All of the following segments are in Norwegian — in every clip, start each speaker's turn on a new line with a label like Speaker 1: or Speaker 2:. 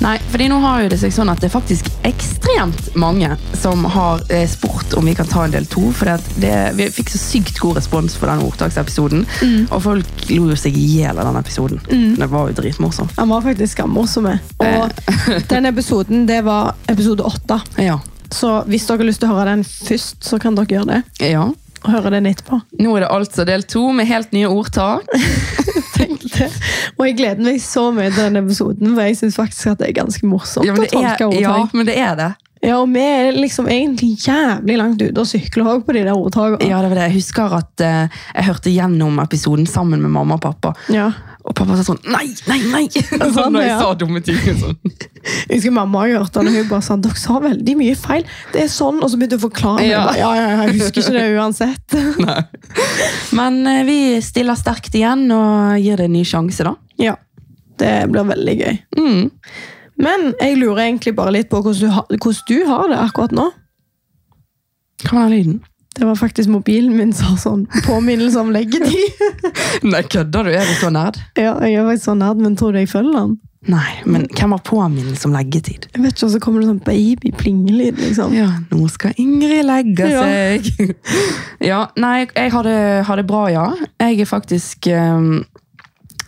Speaker 1: Nei, fordi nå har jo det seg sånn at det er faktisk ekstremt mange som har eh, spurt om vi kan ta en del to, for vi fikk så sykt god respons på den ordtaksepisoden, og folk lo jo seg i hjel av den episoden. Det var jo dritmorsomt.
Speaker 2: Han var faktisk skamorsomme.
Speaker 1: Eh.
Speaker 2: Og den episoden, det var episode åtte.
Speaker 1: Ja.
Speaker 2: Så hvis dere har lyst til å høre den først, så kan dere gjøre det.
Speaker 1: ja.
Speaker 2: Og høre den etterpå.
Speaker 1: Nå er det altså del to med helt nye ordtak.
Speaker 2: Tenk det. Og jeg gleder meg så mye til den episoden, for jeg syns faktisk at det er ganske morsomt
Speaker 1: Ja, men
Speaker 2: å
Speaker 1: det er,
Speaker 2: tolke
Speaker 1: ja,
Speaker 2: ordtak.
Speaker 1: men det, er det.
Speaker 2: Ja. og vi er liksom egentlig jævlig langt ute og sykler også på de der ordtakene.
Speaker 1: Ja, det var det. Jeg husker at eh, jeg hørte gjennom episoden sammen med mamma og pappa.
Speaker 2: Ja.
Speaker 1: Og pappa sa sånn Nei, nei, nei! Sånn når jeg
Speaker 2: ja.
Speaker 1: sa dumme ting. Sånn.
Speaker 2: Jeg husker mamma har hørt den, og hun bare sa dere sa veldig mye feil. Det er sånn, Og så begynte hun å forklare. meg.
Speaker 1: Ja.
Speaker 2: Jeg bare, Ja, ja, jeg husker ikke det uansett.
Speaker 1: Men eh, vi stiller sterkt igjen og gir det en ny sjanse, da.
Speaker 2: Ja, Det blir veldig gøy.
Speaker 1: Mm.
Speaker 2: Men jeg lurer egentlig bare litt på hvordan du, ha, hvordan du har det akkurat nå.
Speaker 1: Hva var den lyden?
Speaker 2: Det var faktisk mobilen min som sa sånn påminnelse om leggetid.
Speaker 1: Nei, kødder du? Er du så nerd?
Speaker 2: ja, jeg er faktisk så nerd, men tror du jeg følger den?
Speaker 1: Nei, men hvem har påminnelse om leggetid?
Speaker 2: Jeg vet ikke, og så kommer det sånn baby-plingelyd, liksom.
Speaker 1: Ja, nå skal Ingrid legge
Speaker 2: Ja.
Speaker 1: seg. ja, nei, jeg har det, har det bra, ja. Jeg er faktisk eh,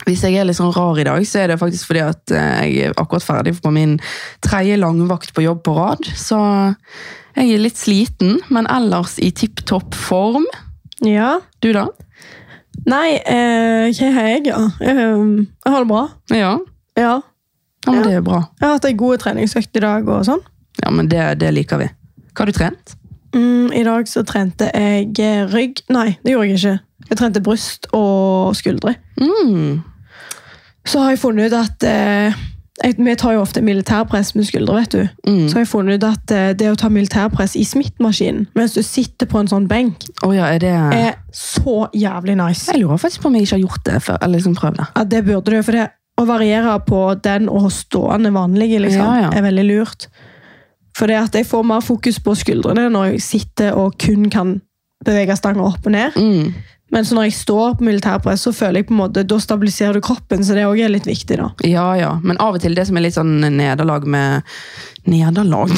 Speaker 1: Hvis jeg er litt sånn rar i dag, så er det faktisk fordi at eh, jeg er akkurat ferdig på min tredje langvakt på jobb på rad. Så jeg er litt sliten, men ellers i tipp topp form.
Speaker 2: Ja.
Speaker 1: Du, da?
Speaker 2: Nei, eh, hva har jeg, ja? Ehm, jeg har det bra.
Speaker 1: Ja.
Speaker 2: Ja.
Speaker 1: ja men
Speaker 2: Ja.
Speaker 1: det er bra.
Speaker 2: Jeg har hatt ei god treningsøkt i dag og sånn.
Speaker 1: Ja, men det, det liker vi. Hva har du trent?
Speaker 2: Mm, I dag så trente jeg rygg Nei, det gjorde jeg ikke. Jeg trente bryst og skuldre.
Speaker 1: Mm.
Speaker 2: Så har jeg funnet ut at eh, jeg, Vi tar jo ofte militærpress med skuldre, vet du.
Speaker 1: Mm.
Speaker 2: Så har jeg funnet ut at eh, det å ta militærpress i smittmaskinen mens du sitter på en sånn benk,
Speaker 1: Å ja, er det
Speaker 2: er så jævlig nice.
Speaker 1: Jeg lurer faktisk på om jeg ikke har gjort det før. Eller liksom prøvd det.
Speaker 2: Ja, det burde du, for det å variere på den og stående vanlige liksom,
Speaker 1: Ja, ja.
Speaker 2: er veldig lurt. For det at jeg får mer fokus på skuldrene når jeg sitter og kun kan bevege stanger opp og ned.
Speaker 1: Mm.
Speaker 2: Men så når jeg står på militærpress, så føler jeg på en måte, da stabiliserer du kroppen, så det også er litt viktig da.
Speaker 1: Ja, ja. Men av og til det som er litt sånn nederlag med Nederlag?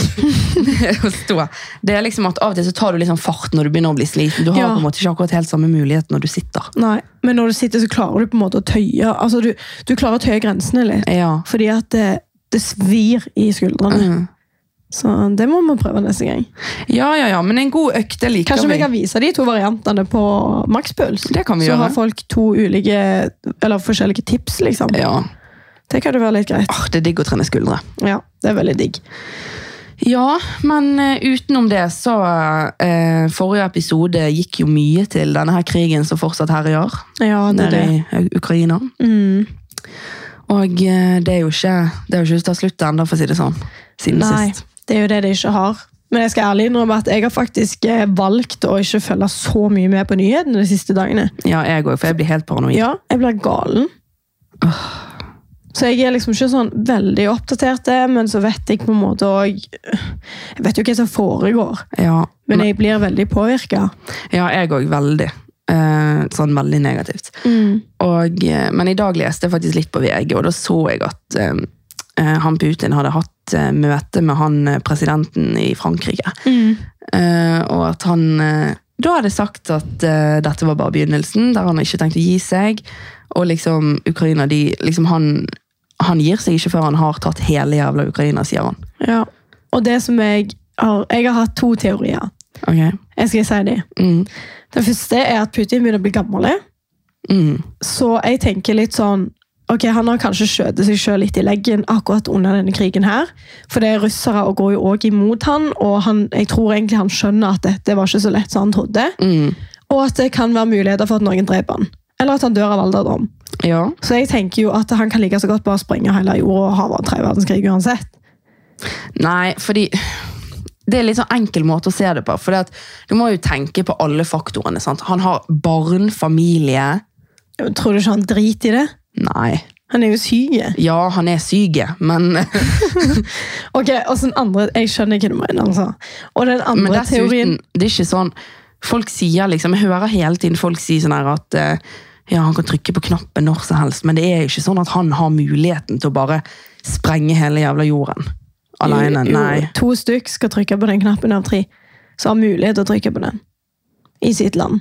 Speaker 1: Å stå. det er liksom at Av og til så tar du litt sånn fart når du begynner å bli sliten. Du har
Speaker 2: Ja.
Speaker 1: på en måte ikke akkurat helt samme mulighet når du sitter.
Speaker 2: Nei, men når du sitter så klarer du på en måte å tøye, altså du, du klarer å tøye grensene litt.
Speaker 1: Ja.
Speaker 2: Fordi at det, det svir i skuldrene.
Speaker 1: Mm.
Speaker 2: Så det må vi prøve neste gang.
Speaker 1: ja, ja, ja. Men en god økt, det liker
Speaker 2: Kanskje vi
Speaker 1: vi.
Speaker 2: kan vise de to variantene på makspuls?
Speaker 1: Det kan vi
Speaker 2: så
Speaker 1: gjøre.
Speaker 2: har folk to ulike, eller forskjellige tips, liksom.
Speaker 1: Ja.
Speaker 2: Det kan jo være litt greit.
Speaker 1: Ah, det er digg å trene skuldre.
Speaker 2: Ja, det er veldig digg.
Speaker 1: Ja, men eh, utenom det så eh, Forrige episode gikk jo mye til denne her krigen som fortsatt herjer
Speaker 2: Ja, det
Speaker 1: nede
Speaker 2: er det.
Speaker 1: i eh, Ukraina.
Speaker 2: Mm.
Speaker 1: Og eh, det er jo ikke Det er jo ikke slutt ennå, for å si det sånn. Siden
Speaker 2: Nei,
Speaker 1: sist.
Speaker 2: det er jo det de ikke har. Men jeg skal ærlig innrømme at jeg har faktisk eh, valgt å ikke følge så mye med på nyhetene de siste dagene.
Speaker 1: Ja, jeg òg, for jeg blir helt paranoid.
Speaker 2: Ja, jeg blir galen. Så jeg er liksom ikke sånn veldig oppdatert, det, men så vet jeg på en måte òg Jeg vet jo hva som foregår,
Speaker 1: Ja,
Speaker 2: men jeg blir veldig påvirka.
Speaker 1: ja jeg òg. Veldig. Eh, sånn veldig negativt. Og, eh, men i dag leste jeg faktisk litt på VG, og da så jeg at eh, eh, han Putin hadde hatt eh, møte med han eh, presidenten i Frankrike. Eh, og at han eh, da hadde sagt at eh, dette var bare begynnelsen, der han ikke tenkte å gi seg. Og liksom, Ukraina, de, liksom han, han gir seg ikke før han har tatt hele jævla Ukraina, sier han.
Speaker 2: Ja. Og det som jeg har Jeg har hatt to teorier.
Speaker 1: Ok.
Speaker 2: Jeg skal si de.
Speaker 1: Mm.
Speaker 2: Den første er at Putin begynner å bli gammel. eh?
Speaker 1: Mm.
Speaker 2: Så jeg tenker litt sånn Ok, Han har kanskje skjøtet seg selv litt i leggen akkurat under denne krigen. her, For det er russere og går jo også imot han, og han, jeg tror egentlig han skjønner at dette var ikke så lett som han trodde.
Speaker 1: Mm.
Speaker 2: Og at det kan være muligheter for at noen dreper han. Eller at han dør av alderdom.
Speaker 1: Ja.
Speaker 2: Så jeg tenker jo at han kan like så godt bare sprenge hele jorda og ha vært tredje verdenskrig uansett.
Speaker 1: Nei, fordi det er litt sånn enkel måte å se det på. For du må jo tenke på alle faktorene. sant? Han har barn, familie
Speaker 2: Tror du ikke han driter i det?
Speaker 1: Nei.
Speaker 2: Han er jo syk.
Speaker 1: Ja, han er syk, men,
Speaker 2: Ok, og så den andre, Jeg skjønner ikke hva du mener. altså. Og den
Speaker 1: men
Speaker 2: andre teorien
Speaker 1: dessuten Det er ikke sånn Folk sier liksom Jeg hører hele tiden folk si sånn her at eh, ja, han kan trykke på knappen når som helst, men det er jo ikke sånn at han har muligheten til å bare sprenge hele jævla jorden alene.
Speaker 2: Jo, jo,
Speaker 1: Nei.
Speaker 2: To stykk skal trykke på den knappen av tre. Så har mulighet til å trykke på den. I sitt land.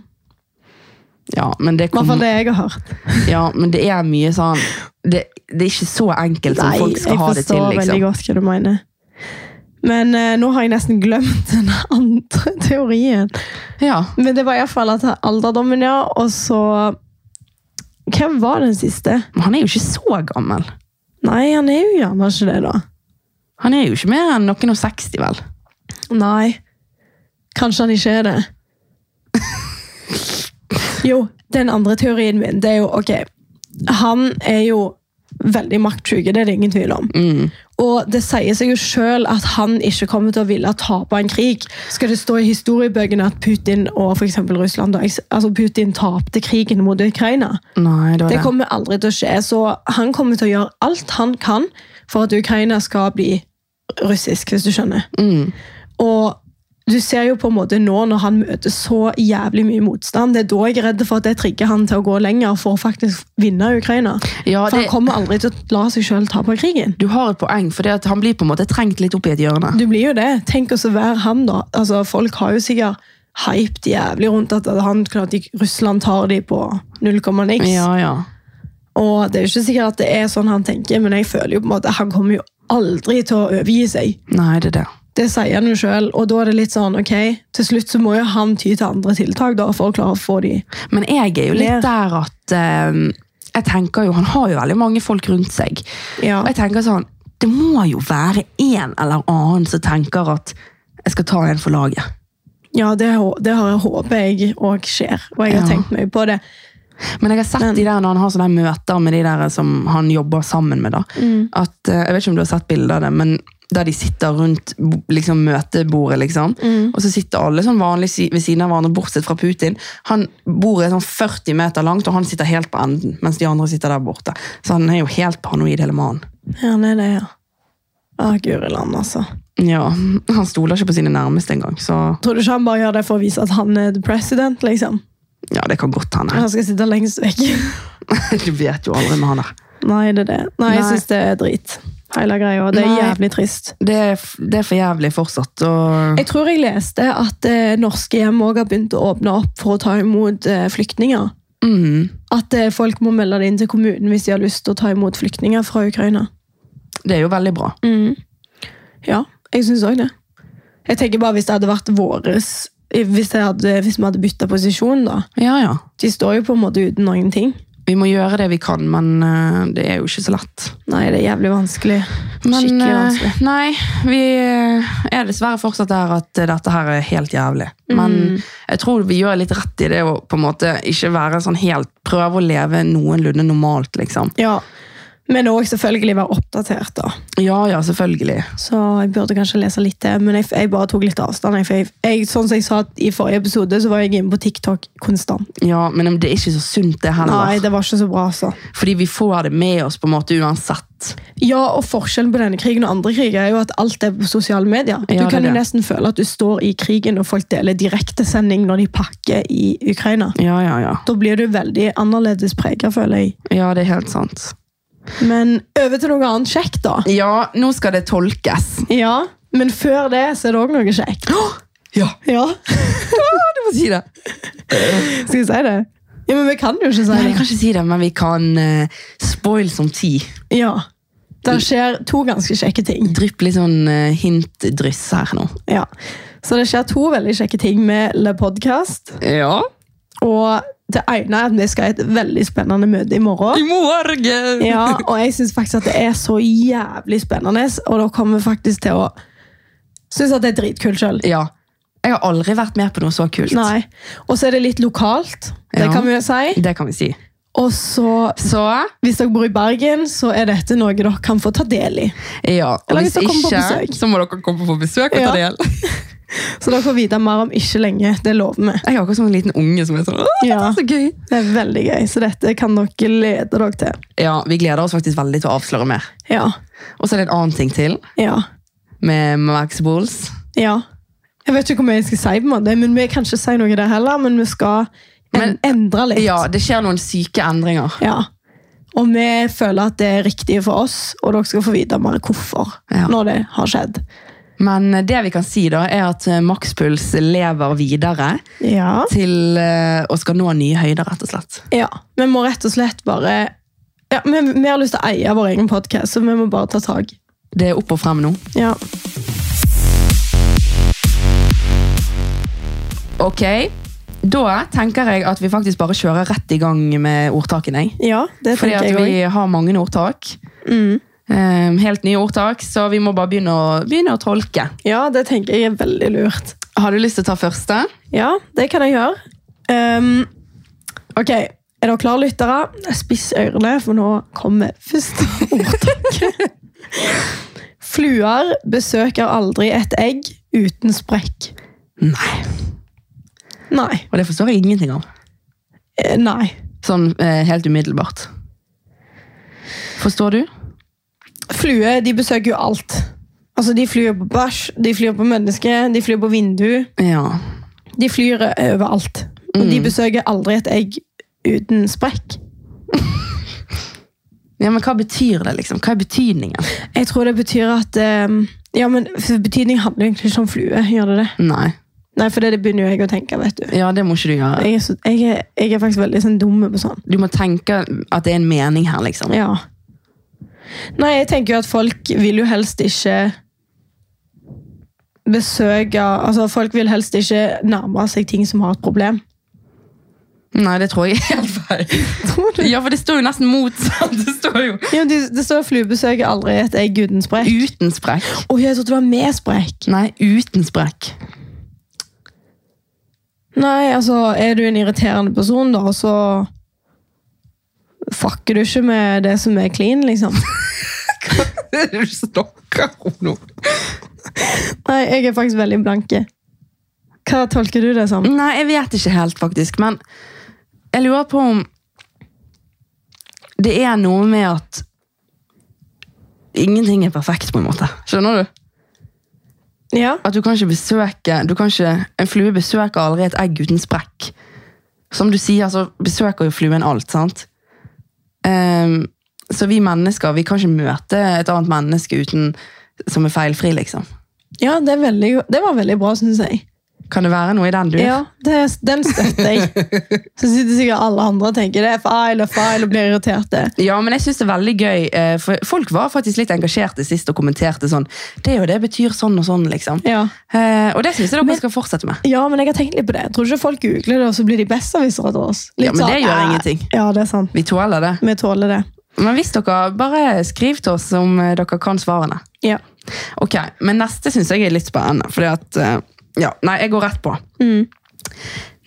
Speaker 1: Ja, men det
Speaker 2: I hvert
Speaker 1: kommer
Speaker 2: fall det jeg har hørt.
Speaker 1: Ja, men det er mye sånn Det, det er ikke så enkelt som folk skal
Speaker 2: jeg
Speaker 1: ha det til,
Speaker 2: forstår veldig
Speaker 1: liksom.
Speaker 2: godt hva du mener. Men eh, nå har jeg nesten glemt den andre teorien.
Speaker 1: Ja.
Speaker 2: Men det var iallfall at alderdommen, ja. Og så Hvem var den siste?
Speaker 1: Men han er jo ikke så gammel.
Speaker 2: Nei, han er jo gjerne ikke det, da.
Speaker 1: Han er jo ikke mer enn noen og 60, vel?
Speaker 2: Nei. Kanskje han ikke er det. Jo, den andre teorien min, det er jo ok Han er jo veldig maktsyk, det er det ingen tvil om.
Speaker 1: Mm.
Speaker 2: Og det sier seg jo sjøl at han ikke kommer til å ville tape en krig. Skal det stå i historiebøkene at Putin og for eksempel Russland da, altså Putin tapte krigen mot Ukraina?
Speaker 1: Nei, det var
Speaker 2: Det
Speaker 1: det.
Speaker 2: kommer aldri til å skje. Så han kommer til å gjøre alt han kan for at Ukraina skal bli russisk, hvis du skjønner.
Speaker 1: Mm.
Speaker 2: Og du ser jo på en måte nå når han møter så jævlig mye motstand, det er da jeg er redd for at det trigger han til å gå lenger for å faktisk vinne Ukraina.
Speaker 1: Ja,
Speaker 2: For
Speaker 1: det,
Speaker 2: han kommer aldri til å la seg sjøl tape krigen.
Speaker 1: du har et poeng, for det at han blir på en måte trengt litt opp i et hjørne.
Speaker 2: Du blir jo det. Tenk oss å være han, da. Altså, folk har jo sikkert hyped jævlig rundt at han klart ikke- Russland tar de på null komma niks.
Speaker 1: Ja, ja.
Speaker 2: Og det er jo ikke sikkert at det er sånn han tenker, men jeg føler jo på en måte at han kommer jo aldri til å overgi seg.
Speaker 1: Nei, det er det.
Speaker 2: Det sier han jo sjøl, og da er det litt sånn ok, til slutt så må jo han ty til andre tiltak da, for å klare å få de
Speaker 1: Men jeg er jo
Speaker 2: Mer.
Speaker 1: litt der at eh, Jeg tenker jo, han har jo veldig mange folk rundt seg.
Speaker 2: Ja.
Speaker 1: Og jeg tenker sånn Det må jo være en eller annen som tenker at jeg skal ta en for laget.
Speaker 2: Ja, det, hå- det har jeg håper jeg òg skjer, og jeg har
Speaker 1: Ja.
Speaker 2: tenkt mye på det.
Speaker 1: Men jeg har sett de der når han har sånne møter med de der som han jobber sammen med. da. At, eh, jeg vet ikke om du har sett bilder av det, men der de sitter rundt bo- liksom, møtebordet, liksom. Og så sitter alle sånn vanlig si- ved siden av hverandre, bortsett fra Putin. Han Bordet er sånn 40 meter langt, og han sitter helt på enden, mens de andre sitter der borte. Så han er jo helt paranoid, hele mannen.
Speaker 2: Ja, nei, det, ja. Å, guri land, altså.
Speaker 1: Ja, Han stoler ikke på sine nærmeste engang, så
Speaker 2: Tror du ikke han bare gjør det for å vise at han er the president, liksom?
Speaker 1: ja, det kan godt hende.
Speaker 2: Han skal sitte lengst vekk.
Speaker 1: Du vet jo aldri med han der.
Speaker 2: Nei, det er det. Nei, jeg
Speaker 1: Nei.
Speaker 2: syns det er drit. Hele greia. Det er
Speaker 1: Nei.
Speaker 2: jævlig trist.
Speaker 1: Det er, f- det er for jævlig fortsatt. Og...
Speaker 2: Jeg tror jeg leste at eh, norske hjem også har begynt å åpne opp for å ta imot eh, flyktninger.
Speaker 1: Mhm.
Speaker 2: At eh, folk må melde det inn til kommunen hvis de har lyst til å ta imot flyktninger fra Ukraina.
Speaker 1: Det er jo veldig bra.
Speaker 2: Ja, jeg syns òg det. Jeg tenker bare hvis det hadde vært våres eh, Hvis, det hadde, hvis vi hadde bytta posisjon, da.
Speaker 1: Ja, ja.
Speaker 2: De står jo på en måte uten noen ting.
Speaker 1: Vi må gjøre det vi kan, men eh, det er jo ikke så lett.
Speaker 2: Nei, det er jævlig vanskelig.
Speaker 1: Men,
Speaker 2: Skikkelig
Speaker 1: eh,
Speaker 2: vanskelig.
Speaker 1: Nei, vi eh, er dessverre fortsatt der at eh, dette her er helt jævlig. Men jeg tror vi gjør litt rett i det å på en måte ikke være sånn helt Prøve å leve noenlunde normalt, liksom.
Speaker 2: Ja. Men òg selvfølgelig være oppdatert, da.
Speaker 1: Ja ja, selvfølgelig.
Speaker 2: Så jeg burde kanskje lese litt til, men jeg, jeg bare tok litt avstand. Jeg, for jeg, jeg, sånn som jeg sa i forrige episode, så var jeg inne på TikTok konstant.
Speaker 1: Ja, Men det er ikke så sunt, det
Speaker 2: Nei,
Speaker 1: heller.
Speaker 2: det var ikke så bra, altså.
Speaker 1: Fordi vi får det med oss på en måte uansett.
Speaker 2: Ja, og forskjellen på denne krigen og andre kriger er jo at alt er på sosiale medier. Du
Speaker 1: Ja, det er
Speaker 2: kan jo
Speaker 1: det.
Speaker 2: nesten føle at du står i krigen og folk deler direktesending når de pakker i Ukraina.
Speaker 1: Ja, ja, ja.
Speaker 2: Da blir du veldig annerledes preget, føler jeg.
Speaker 1: Ja, det er helt sant.
Speaker 2: Men over til noe annet kjekt, da.
Speaker 1: Ja, nå skal det tolkes.
Speaker 2: Ja, men før det så er det òg noe kjekt.
Speaker 1: Ja,
Speaker 2: Ja,
Speaker 1: du må si det.
Speaker 2: Skal vi si det? Ja, Men vi kan jo ikke si
Speaker 1: Nei, vi
Speaker 2: det.
Speaker 1: kan ikke si det, men vi kan eh, spoil som ti.
Speaker 2: Ja. Der skjer to ganske kjekke ting.
Speaker 1: Drypp litt sånn eh, hintdryss her nå.
Speaker 2: Ja. Så det skjer to veldig kjekke ting med Le Podcast.
Speaker 1: Ja.
Speaker 2: Og det ene er at vi skal ha et veldig spennende møte i morgen.
Speaker 1: morgen! Ja.
Speaker 2: Ja, Og jeg syns faktisk at det er så jævlig spennende, og da kommer vi faktisk til å synes at det er dritkult sjøl.
Speaker 1: Jeg har aldri vært med på noe så kult.
Speaker 2: Nei. Og så er det litt lokalt. Det
Speaker 1: Ja.
Speaker 2: kan vi jo si.
Speaker 1: Det kan vi si.
Speaker 2: Og så,
Speaker 1: Så
Speaker 2: hvis dere bor i Bergen, så er dette noe dere kan få ta del i.
Speaker 1: ja. Og
Speaker 2: Eller
Speaker 1: hvis
Speaker 2: hvis dere kommer på
Speaker 1: ikke,
Speaker 2: besøk.
Speaker 1: så må dere komme på besøk og ta
Speaker 2: Ja.
Speaker 1: del.
Speaker 2: Så dere får vite mer om ikke lenge. Det lover vi.
Speaker 1: Jeg er akkurat som en liten unge som er sånn «Åh,
Speaker 2: Ja.
Speaker 1: Så gøy!
Speaker 2: Det er veldig gøy, så dette kan dere glede dere til.
Speaker 1: Ja, Vi gleder oss faktisk veldig til å avsløre mer.
Speaker 2: Ja.
Speaker 1: Og så er det en annen ting til
Speaker 2: Ja.
Speaker 1: med Max Bowles.
Speaker 2: Ja. Jeg vet ikke hvor mye jeg skal si, på en måte, men vi kan ikke si noe der heller. Men vi skal
Speaker 1: Men-
Speaker 2: en endre litt.
Speaker 1: Ja, det skjer noen syke endringer.
Speaker 2: Ja. Og vi føler at det er riktig for oss, og dere skal få vite mer hvorfor.
Speaker 1: Ja.
Speaker 2: når det har skjedd.
Speaker 1: Men eh, det vi kan si, da, er at eh, makspuls lever videre
Speaker 2: Ja.
Speaker 1: til eh, å skal nå nye høyder, rett og slett.
Speaker 2: ja. Vi må rett og slett bare ja, vi, vi har lyst til å eie vår egen podkast, så vi må bare ta tak.
Speaker 1: Det er opp og frem nå.
Speaker 2: Ja.
Speaker 1: Ok, da tenker jeg at vi faktisk bare kjører rett i gang med ordtakene. jeg.
Speaker 2: ja, det
Speaker 1: Fordi
Speaker 2: tenker
Speaker 1: at
Speaker 2: jeg òg.
Speaker 1: vi har mange ordtak.
Speaker 2: Mm.
Speaker 1: eh, Helt nye ordtak, så vi må bare begynne å, begynne å tolke.
Speaker 2: Ja, det tenker jeg er veldig lurt.
Speaker 1: Har du lyst til å ta første?
Speaker 2: Ja, det kan jeg gjøre. Ehm, ok, er dere klare lyttere? Spiss ørene, for nå kommer første ordtaket. Fluer besøker aldri et egg uten sprekk.
Speaker 1: Nei.
Speaker 2: Nei.
Speaker 1: Og det forstår jeg ingenting av.
Speaker 2: Eh, Nei.
Speaker 1: Sånn eh, helt umiddelbart. Forstår du?
Speaker 2: Fluer de besøker jo alt. Altså, De flyr på bæsj, de flyr på mennesker, de flyr på vindu.
Speaker 1: Ja.
Speaker 2: De flyr eh, overalt. Og de besøker aldri et egg uten sprekk.
Speaker 1: ja. Men hva betyr det, liksom? Hva er betydningen?
Speaker 2: Jeg tror det betyr at eh, Ja, men for Betydning handler jo egentlig ikke om flue. gjør det det?
Speaker 1: Nei.
Speaker 2: Nei, for det, det begynner jo jeg å tenke. vet du.
Speaker 1: Ja, det må ikke du gjøre.
Speaker 2: Jeg er, så, jeg er, jeg er faktisk veldig sånn dum på sånn.
Speaker 1: Du må tenke at det er en mening her, liksom.
Speaker 2: Ja. Nei, jeg tenker jo at folk vil jo helst ikke besøke Altså, folk vil helst ikke nærme seg ting som har et problem.
Speaker 1: Nei, det tror jeg er helt feil.
Speaker 2: Tror du?
Speaker 1: Ja, for det står jo nesten motsatt. Det står jo
Speaker 2: Ja, det, det står 'fluebesøk er aldri et egg uten sprekk'.
Speaker 1: uten sprekk.
Speaker 2: Å, jeg trodde det var med sprekk.
Speaker 1: Nei, uten sprekk.
Speaker 2: Nei, altså, er du en irriterende person, da, så fucker du ikke med det som er clean, liksom.
Speaker 1: Det er du snakker om nå.
Speaker 2: Nei, jeg er faktisk veldig blanke. Hva tolker du det som?
Speaker 1: Nei, jeg vet ikke helt, faktisk. Men jeg lurer på om det er noe med at ingenting er perfekt, på en måte. Skjønner du?
Speaker 2: Ja,
Speaker 1: At du kan ikke besøke du kan ikke, En flue besøker aldri et egg uten sprekk. Som du sier, så besøker jo fluen alt, sant? Ehm, så vi mennesker vi kan ikke møte et annet menneske uten, som er feilfri, liksom.
Speaker 2: ja det, er veldig, det var veldig bra, syns jeg.
Speaker 1: Kan det være noe i den du
Speaker 2: Ja, det, Den støtter jeg. Så sitter sikkert alle andre og tenker det er feil og feil og blir irriterte.
Speaker 1: Ja, men jeg synes det er veldig gøy. eh, For folk var faktisk litt engasjerte sist og kommenterte sånn. Det og det betyr sånn og sånn, liksom.
Speaker 2: Ja.
Speaker 1: Eh, og det synes jeg dere
Speaker 2: Men-
Speaker 1: skal fortsette med.
Speaker 2: ja, men jeg har tenkt litt på det. Tror ikke folk googler det, og så blir de besserwissere til oss.
Speaker 1: Ja, men det gjør
Speaker 2: eh,
Speaker 1: ingenting.
Speaker 2: Ja, det er sant.
Speaker 1: Vi tåler det.
Speaker 2: Vi tåler det.
Speaker 1: Men hvis dere bare skriv til oss om eh, dere kan svarene.
Speaker 2: Ja.
Speaker 1: Ok, men neste synes jeg er litt spennende, fordi at eh, Ja, nei, jeg går rett på.
Speaker 2: Mm.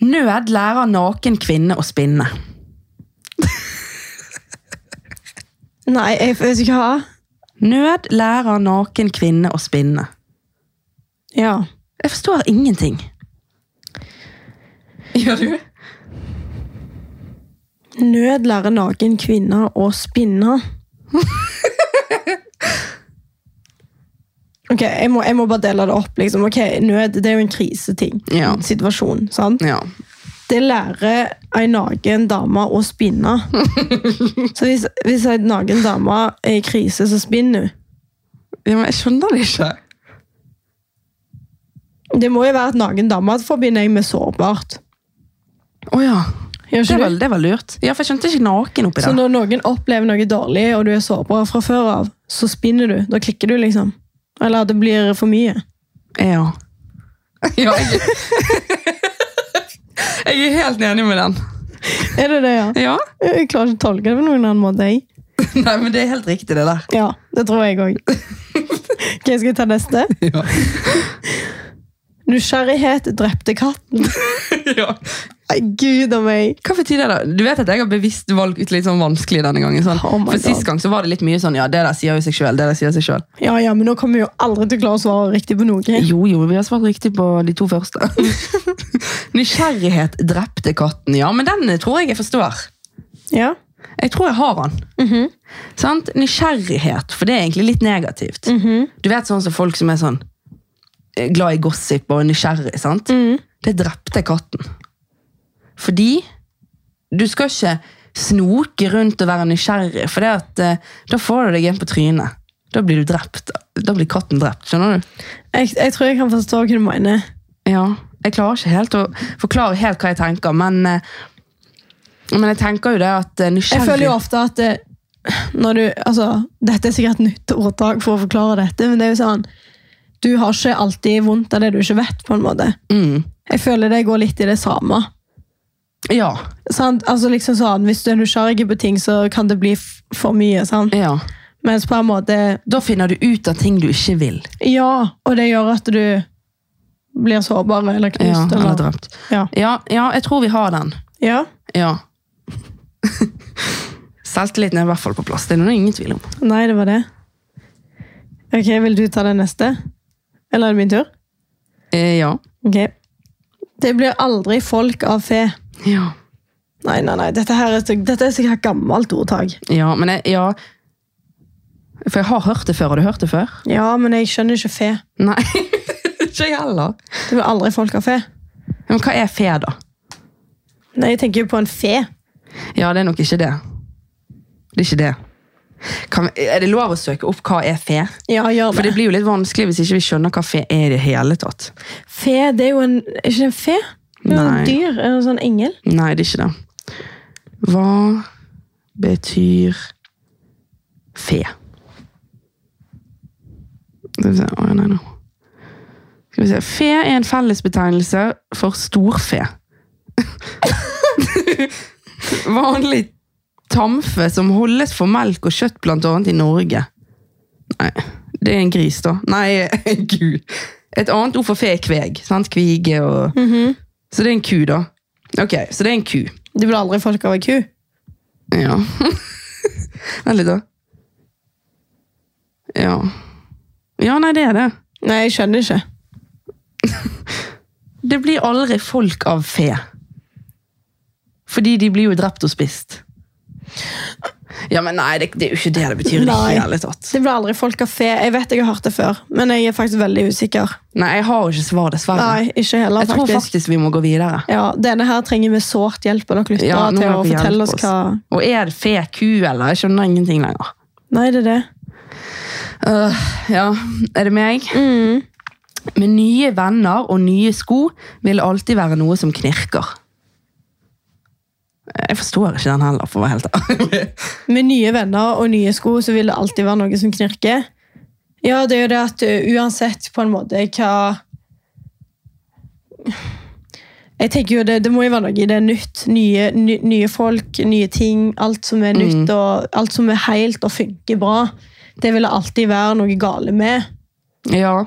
Speaker 1: Nød lærer naken kvinne å spinne.
Speaker 2: Nei, jeg jeg vet ikke hva.
Speaker 1: Nød lærer naken kvinne å spinne.
Speaker 2: Ja.
Speaker 1: Jeg forstår ingenting. Gjør du?
Speaker 2: Nød lærer naken kvinne å spinne. ok, jeg må, jeg må bare dele det opp. Liksom. Ok, Nød det er jo en kriseting.
Speaker 1: Ja.
Speaker 2: En situasjon. sant?
Speaker 1: Ja.
Speaker 2: Det lærer ei naken dame å spinne. så hvis, hvis ei naken dame er i krise, så spinner hun.
Speaker 1: ja, men jeg skjønner det ikke.
Speaker 2: Det må jo være at naken dame forbinder jeg med sårbart.
Speaker 1: Å ja.
Speaker 2: Gjør
Speaker 1: Det
Speaker 2: ikke
Speaker 1: var,
Speaker 2: du?
Speaker 1: det var lurt. Ja, for jeg skjønte ikke naken oppi
Speaker 2: Så
Speaker 1: der.
Speaker 2: når noen opplever noe dårlig, og du er sårbar fra før av, så spinner du. Da klikker du, liksom. Eller at det blir for mye.
Speaker 1: Ja. ja jeg... jeg er helt enig med den.
Speaker 2: Er det det, ja?
Speaker 1: Ja?
Speaker 2: Jeg klarer ikke å tolke det på noen annen måte. Jeg.
Speaker 1: Nei, men det er helt riktig, det der.
Speaker 2: Ja, det tror jeg òg. Ok, skal jeg ta neste?
Speaker 1: Ja.
Speaker 2: Nysgjerrighet drepte katten.
Speaker 1: ja.
Speaker 2: Nei, gud a meg.
Speaker 1: Hva betyr det da? Du vet at jeg har bevisst valgt ut litt sånn vanskelig denne gangen. Sånn.
Speaker 2: Oh my
Speaker 1: For sist
Speaker 2: God.
Speaker 1: gang så var det litt mye sånn, ja, det der sier jo seg selv, det der sier seg selv.
Speaker 2: Ja, ja, men nå kommer vi jo aldri til å klare å svare riktig på noe.
Speaker 1: Jo, jo, vi har svart riktig på de to første. Nysgjerrighet drepte katten, ja, men den tror jeg jeg forstår.
Speaker 2: Ja,
Speaker 1: Jeg tror jeg har den.
Speaker 2: Mhm.
Speaker 1: Sant? Nysgjerrighet, for det er egentlig litt negativt.
Speaker 2: Mhm.
Speaker 1: Du vet sånn som folk som er sånn eh, glad i gossip og nysgjerrig,
Speaker 2: Mhm.
Speaker 1: sant? Det drepte katten. Fordi du skal ikke snoke rundt og være nysgjerrig. For det at, eh, da får du deg en på trynet. Da blir du drept. Da blir katten drept, skjønner du?
Speaker 2: Jeg, jeg tror jeg kan forstå hva du mener.
Speaker 1: Ja, jeg klarer ikke helt å forklare helt hva jeg tenker, men, eh, men jeg tenker jo det at eh,
Speaker 2: Jeg
Speaker 1: nysgjerrig...
Speaker 2: føler jo ofte at eh, når du, altså, Dette er sikkert et nytt ordtak for å forklare dette, men det er jo sånn Du har ikke alltid vondt av det du ikke vet, på en måte.
Speaker 1: Mm.
Speaker 2: Jeg føler det går litt i det samme.
Speaker 1: Ja,
Speaker 2: Sant? Altså liksom sånn, Hvis du er nysgjerrig på ting, så kan det bli f- for mye. sant?
Speaker 1: ja.
Speaker 2: Mens på en måte
Speaker 1: Da finner du ut av ting du ikke vil.
Speaker 2: Ja, og det gjør at du blir sårbar eller
Speaker 1: Ja,
Speaker 2: knust.
Speaker 1: eller
Speaker 2: eller,
Speaker 1: drept.
Speaker 2: ja.
Speaker 1: Ja, ja, jeg tror vi har den.
Speaker 2: ja,
Speaker 1: Ja. Selvtilliten er i hvert fall på plass. Det er det ingen tvil om.
Speaker 2: Nei, det var det. Ok, Vil du ta den neste? Eller er det min tur?
Speaker 1: Eh, ja.
Speaker 2: Ok. Det blir aldri folk av fe.
Speaker 1: Ja.
Speaker 2: Nei, nei, nei. Dette, her er, så- dette er sikkert gammelt ordtak.
Speaker 1: ja, men jeg, ja. For jeg har hørt det før. Har du hørt det før?
Speaker 2: Ja, men jeg skjønner ikke fe.
Speaker 1: Nei. Ikke jeg heller.
Speaker 2: Det blir aldri folk av fe.
Speaker 1: Men hva er fe, da?
Speaker 2: Nei, jeg tenker jo på en fe.
Speaker 1: Ja, det er nok ikke det. Det er ikke det. Kan, er det lov å søke opp hva er fe?
Speaker 2: Ja, gjør
Speaker 1: For det blir jo litt vanskelig hvis ikke vi skjønner hva fe er i det hele tatt.
Speaker 2: Fe, det er jo en Er ikke det en fe? Det er jo
Speaker 1: Nei.
Speaker 2: en dyr. En sånn engel.
Speaker 1: Nei, det er ikke det. Hva betyr fe? Skal vi se Å, nei, nå. Skal vi se. Fe er en fellesbetegnelse for storfe. Vanlig tamfe som holdes for melk og kjøtt, blant annet i Norge. Nei, det er en gris, da. Nei, gud. Et annet ord for fe er kveg. sant? Kvige og Så det er en ku, da. Ok, så det er en ku.
Speaker 2: Det blir aldri folk av ei ku.
Speaker 1: Ja. Vent litt, da. Ja. Ja, nei, det er det.
Speaker 2: Nei, jeg skjønner ikke.
Speaker 1: Det blir aldri folk av fe. Fordi de blir jo drept og spist. Ja, men nei, det, det er jo ikke det det betyr. i Det
Speaker 2: Nei.
Speaker 1: hele tatt.
Speaker 2: Det blir aldri folk av fe. Jeg vet jeg har hørt det før, men jeg er faktisk veldig usikker.
Speaker 1: Nei, jeg har jo ikke svar, dessverre.
Speaker 2: Nei, ikke heller,
Speaker 1: jeg tror
Speaker 2: faktisk.
Speaker 1: faktisk vi må gå videre.
Speaker 2: Ja, Denne her trenger vi sårt hjelp av dere lyttere
Speaker 1: Ja, nå må
Speaker 2: til å
Speaker 1: dere hjelpe
Speaker 2: fortelle oss
Speaker 1: oss.
Speaker 2: hva
Speaker 1: Og er det fe ku, eller? Jeg skjønner ingenting lenger.
Speaker 2: Nei, det er det.
Speaker 1: Øh, ja, er det meg?
Speaker 2: Mm.
Speaker 1: Med nye venner og nye sko vil det alltid være noe som knirker. Jeg forstår ikke den heller, for å være helt ærlig.
Speaker 2: Med nye venner og nye sko så vil det alltid være noe som knirker. Ja, det er jo det at uh, uansett på en måte hva Jeg tenker jo det, det må jo være noe i det er nytt. Nye, ny, nye folk, nye ting. Alt som er nytt
Speaker 1: Mm.
Speaker 2: og alt som er helt og funker bra. Det vil det alltid være noe gale med.
Speaker 1: Ja,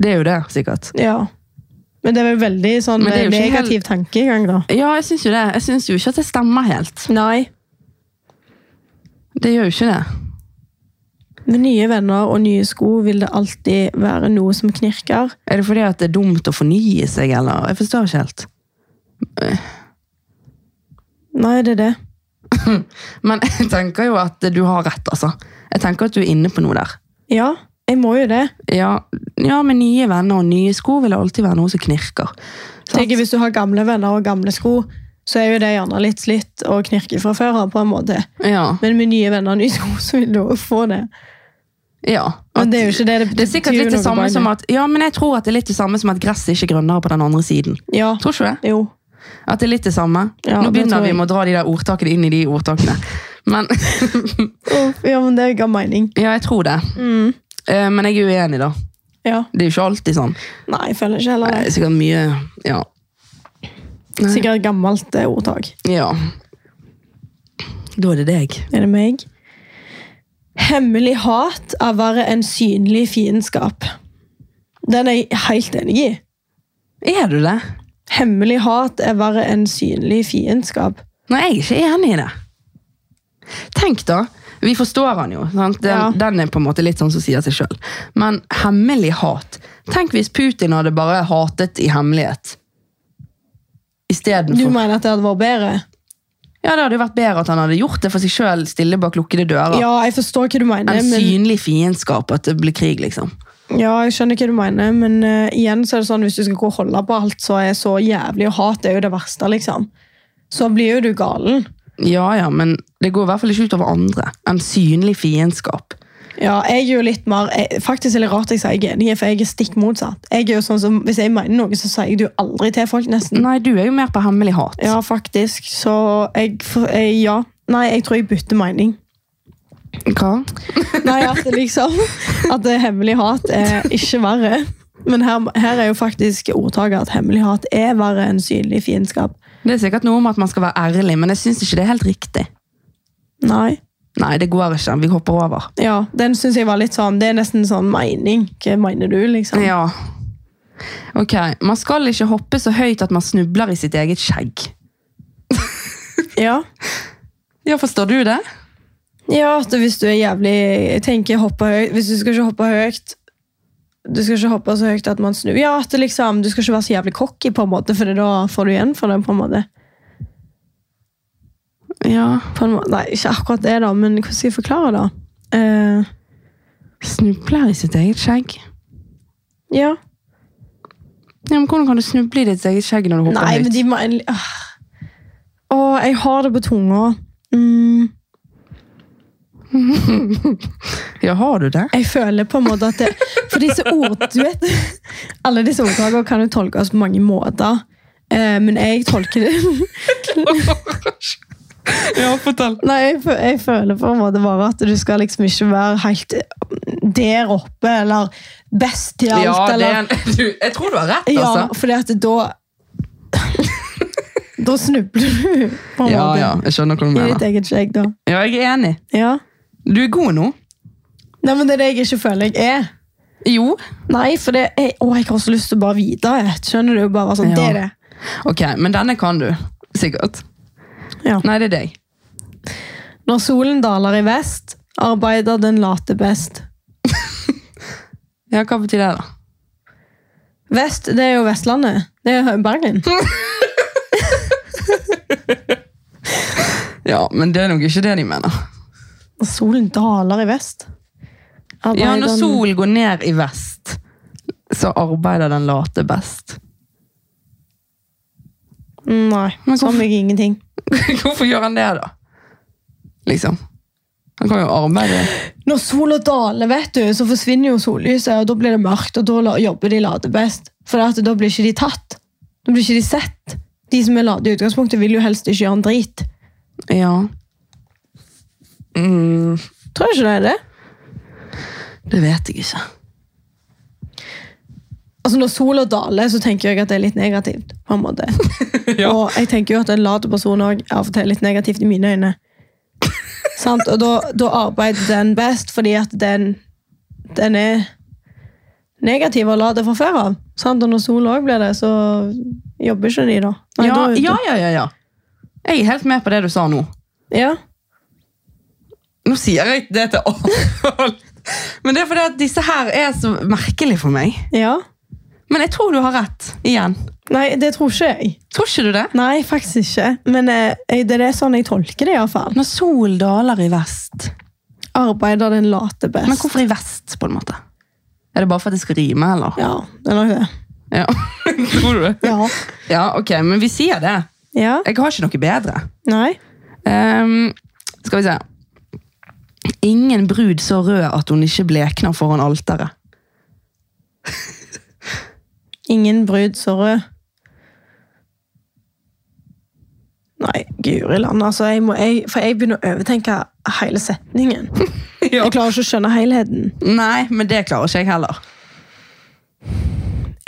Speaker 1: det er jo det, sikkert.
Speaker 2: Ja. Men det er vel veldig sånn
Speaker 1: Men det er jo ikke
Speaker 2: negativ tankegang, da.
Speaker 1: Ja, jeg syns jo det. Jeg syns jo ikke at det stemmer helt.
Speaker 2: Nei.
Speaker 1: Det gjør jo ikke det.
Speaker 2: Med nye venner og nye sko vil det alltid være noe som knirker.
Speaker 1: Er det fordi at det er dumt å fornye seg, eller? Jeg forstår ikke helt.
Speaker 2: Nei, det er det.
Speaker 1: Men jeg tenker jo at du har rett, altså. Jeg tenker at du er inne på noe der.
Speaker 2: Ja, jeg må jo det.
Speaker 1: Ja, ja med nye venner og nye sko vil det alltid være noe som knirker. Sant?
Speaker 2: Tenker, hvis du har gamle venner og gamle sko, så er jo det gjerne litt slitt og knirke fra før av. på en måte.
Speaker 1: Ja.
Speaker 2: Men med nye venner og nye sko, så vil du også få det.
Speaker 1: ja.
Speaker 2: Men det er jo ikke det. Det,
Speaker 1: Det er sikkert litt det samme som at Ja, men jeg tror at det er litt det samme som at gresset ikke er grønnere på den andre siden.
Speaker 2: Ja,
Speaker 1: Tror ikke du det?
Speaker 2: jo.
Speaker 1: At det er litt det samme.
Speaker 2: Ja,
Speaker 1: Nå
Speaker 2: det
Speaker 1: begynner
Speaker 2: tror
Speaker 1: vi
Speaker 2: jeg.
Speaker 1: med å dra de der ordtakene inn i de ordtakene. Men
Speaker 2: Uff, Ja, men det ga mening.
Speaker 1: Ja, jeg tror det. Eh, Men jeg er uenig, da.
Speaker 2: Ja.
Speaker 1: Det er jo ikke alltid sånn.
Speaker 2: Nei, jeg føler ikke heller
Speaker 1: Det
Speaker 2: det.
Speaker 1: er sikkert mye Ja. Nei.
Speaker 2: Sikkert et gammelt eh, ordtak.
Speaker 1: ja. Da er det deg.
Speaker 2: Er det meg? Hemmelig hat er verre enn synlig fiendskap. Den er jeg helt enig i.
Speaker 1: Er du det?
Speaker 2: Hemmelig hat er verre enn synlig fiendskap.
Speaker 1: Nei, jeg er ikke enig i det. Tenk da, vi forstår han jo. Sant? Den,
Speaker 2: Ja.
Speaker 1: den er på en måte litt sånn som sier seg sjøl. Men hemmelig hat. Tenk hvis Putin hadde bare hatet i hemmelighet.
Speaker 2: Du
Speaker 1: Istedenfor.
Speaker 2: mener at det hadde vært bedre?
Speaker 1: Ja, det hadde jo vært bedre at han hadde gjort det for seg sjøl, stille bak lukkede dører.
Speaker 2: Ja, jeg forstår hva du mener.
Speaker 1: Enn
Speaker 2: Men,
Speaker 1: synlig fiendskap, at det blir krig, liksom.
Speaker 2: ja, jeg skjønner hva du mener, men eh, igjen så er det sånn, hvis du skal gå og holde på alt, så er så jævlig og hat det er jo det verste, liksom. Så blir jo du galen.
Speaker 1: Ja, ja, men det går i hvert fall ikke utover andre enn synlig fiendskap.
Speaker 2: Ja, jeg er jo litt mer, jeg, faktisk er det rart jeg sier jeg er enig, for jeg er stikk motsatt. Jeg er jo sånn som, Hvis jeg mener noe, så sier jeg det jo aldri til folk, nesten.
Speaker 1: Nei, du er jo mer på hemmelig hat.
Speaker 2: Ja, faktisk. Så jeg, for- jeg Ja. Nei, jeg tror jeg bytter mening.
Speaker 1: Hva?
Speaker 2: Nei, at det liksom At det hemmelig hat er ikke verre. Men her, her er jo faktisk ordtaket at hemmelig hat er verre enn synlig fiendskap.
Speaker 1: Det er sikkert noe om at man skal være ærlig, men jeg syns ikke det er helt riktig.
Speaker 2: Nei.
Speaker 1: Nei, det går ikke. Vi hopper over.
Speaker 2: Ja, den syns jeg var litt sånn Det er nesten sånn mening. Hva mener du, liksom?
Speaker 1: Ja. Ok, Man skal ikke hoppe så høyt at man snubler i sitt eget skjegg.
Speaker 2: Ja.
Speaker 1: Ja, Forstår du det?
Speaker 2: Ja, at hvis du er jævlig Jeg tenker hoppe høyt Hvis du skal ikke hoppe høyt Du skal ikke hoppe så høyt at man snur Ja, at det liksom, du skal ikke være så jævlig cocky på en måte For da får du igjen for det på en måte,
Speaker 1: Ja.
Speaker 2: på en måte Nei, ikke akkurat det da Men hvordan skal jeg forklare det? Eh,
Speaker 1: Snubler i sitt eget skjegg?
Speaker 2: ja
Speaker 1: Ja, men Hvordan kan du snuble i ditt eget skjegg når du hopper
Speaker 2: Nei,
Speaker 1: høyt?
Speaker 2: men de må en- Åh, Åh, jeg har det på tunga mm,
Speaker 1: Ja, har du det?
Speaker 2: Jeg føler på en måte at det For disse ord, du vet Alle disse ordtaker kan jo tolkes på mange måter eh, Men jeg tolker det
Speaker 1: ja, fortell.
Speaker 2: Nei, jeg, fø- jeg føler på en måte bare at du skal liksom ikke være helt eh, der oppe, eller best til alt,
Speaker 1: Ja, det er
Speaker 2: eller
Speaker 1: en, du, jeg tror du har rett,
Speaker 2: Ja,
Speaker 1: altså.
Speaker 2: fordi at da Da snubler du, på en
Speaker 1: Ja,
Speaker 2: måte.
Speaker 1: ja, jeg skjønner hva du
Speaker 2: I ditt
Speaker 1: mener.
Speaker 2: eget skjegg, da.
Speaker 1: Ja, jeg er enig.
Speaker 2: Ja.
Speaker 1: Du er god nå.
Speaker 2: Nei, men det er det jeg ikke føler jeg er.
Speaker 1: Jo.
Speaker 2: Nei, for det er, å, jeg har også lyst til å bare vite det. Skjønner du? Bare være sånn,
Speaker 1: Ja.
Speaker 2: det er det.
Speaker 1: Ok, men denne kan du. Sikkert.
Speaker 2: Ja.
Speaker 1: Nei, det er deg.
Speaker 2: Når solen daler i vest, arbeider den late best.
Speaker 1: Ja, Hva betyr det, da?
Speaker 2: Vest, det er jo Vestlandet. Det er jo Bergen.
Speaker 1: Mm. Ja, men det er nok ikke det de mener.
Speaker 2: Når solen daler i vest.
Speaker 1: Ja, Når
Speaker 2: Arbeider den-
Speaker 1: solen går ned i vest, så arbeider den late best.
Speaker 2: Mm, Nei,
Speaker 1: Men
Speaker 2: sa meg ingenting.
Speaker 1: Hvorfor gjør han det, da? Liksom. Han kan jo arbeide.
Speaker 2: Når sola daler, vet du, så forsvinner jo sollyset, og da blir det mørkt, og da la- jobber de late best. For at da blir ikke de tatt. Da blir ikke de sett. De som er late i utgangspunktet, vil jo helst ikke gjøre en drit.
Speaker 1: Ja. Mm,
Speaker 2: Tror jeg ikke det er det.
Speaker 1: det vet jeg ikke.
Speaker 2: Altså, når sola daler, så tenker jeg at det er litt negativt, på en måte.
Speaker 1: Ja.
Speaker 2: Og jeg tenker jo at en lat person òg av og til er litt negativt i mine øyne. Sant? Og da, da arbeider den best, fordi at den, den er negativ og lat fra før av. Sant? Og når sola òg blir det, så jobber ikke de da. Nei,
Speaker 1: Ja,
Speaker 2: da
Speaker 1: ja, ja, ja, ja. Jeg er helt med på det du sa nå.
Speaker 2: ja.
Speaker 1: Nå sier jeg det til alt. Men det er fordi at disse her er så merkelige for meg.
Speaker 2: Ja.
Speaker 1: Men jeg tror du har rett. Igjen.
Speaker 2: Nei, det tror ikke jeg.
Speaker 1: Tror ikke du det?
Speaker 2: Nei, faktisk ikke. Men eh, jeg- det er sånn jeg tolker det, iallfall.
Speaker 1: Når solen daler i vest
Speaker 2: Arbeider den late best.
Speaker 1: Men hvorfor i vest, på en måte? Er det bare for at det skal rime, eller?
Speaker 2: Ja, det er nok det.
Speaker 1: Ja. Tror du det?
Speaker 2: Ja.
Speaker 1: Ja, ok, men vi sier det.
Speaker 2: ja.
Speaker 1: Jeg har ikke noe bedre.
Speaker 2: Nei.
Speaker 1: Ehm, skal vi se. Ingen brud så rød at hun ikke blekner foran alteret.
Speaker 2: Ingen brud så rød. Nei, guri land, altså. Jeg må, jeg, for jeg begynner å overtenke hele setningen. Jeg klarer ikke å skjønne helheten.
Speaker 1: Nei, men det klarer ikke jeg heller.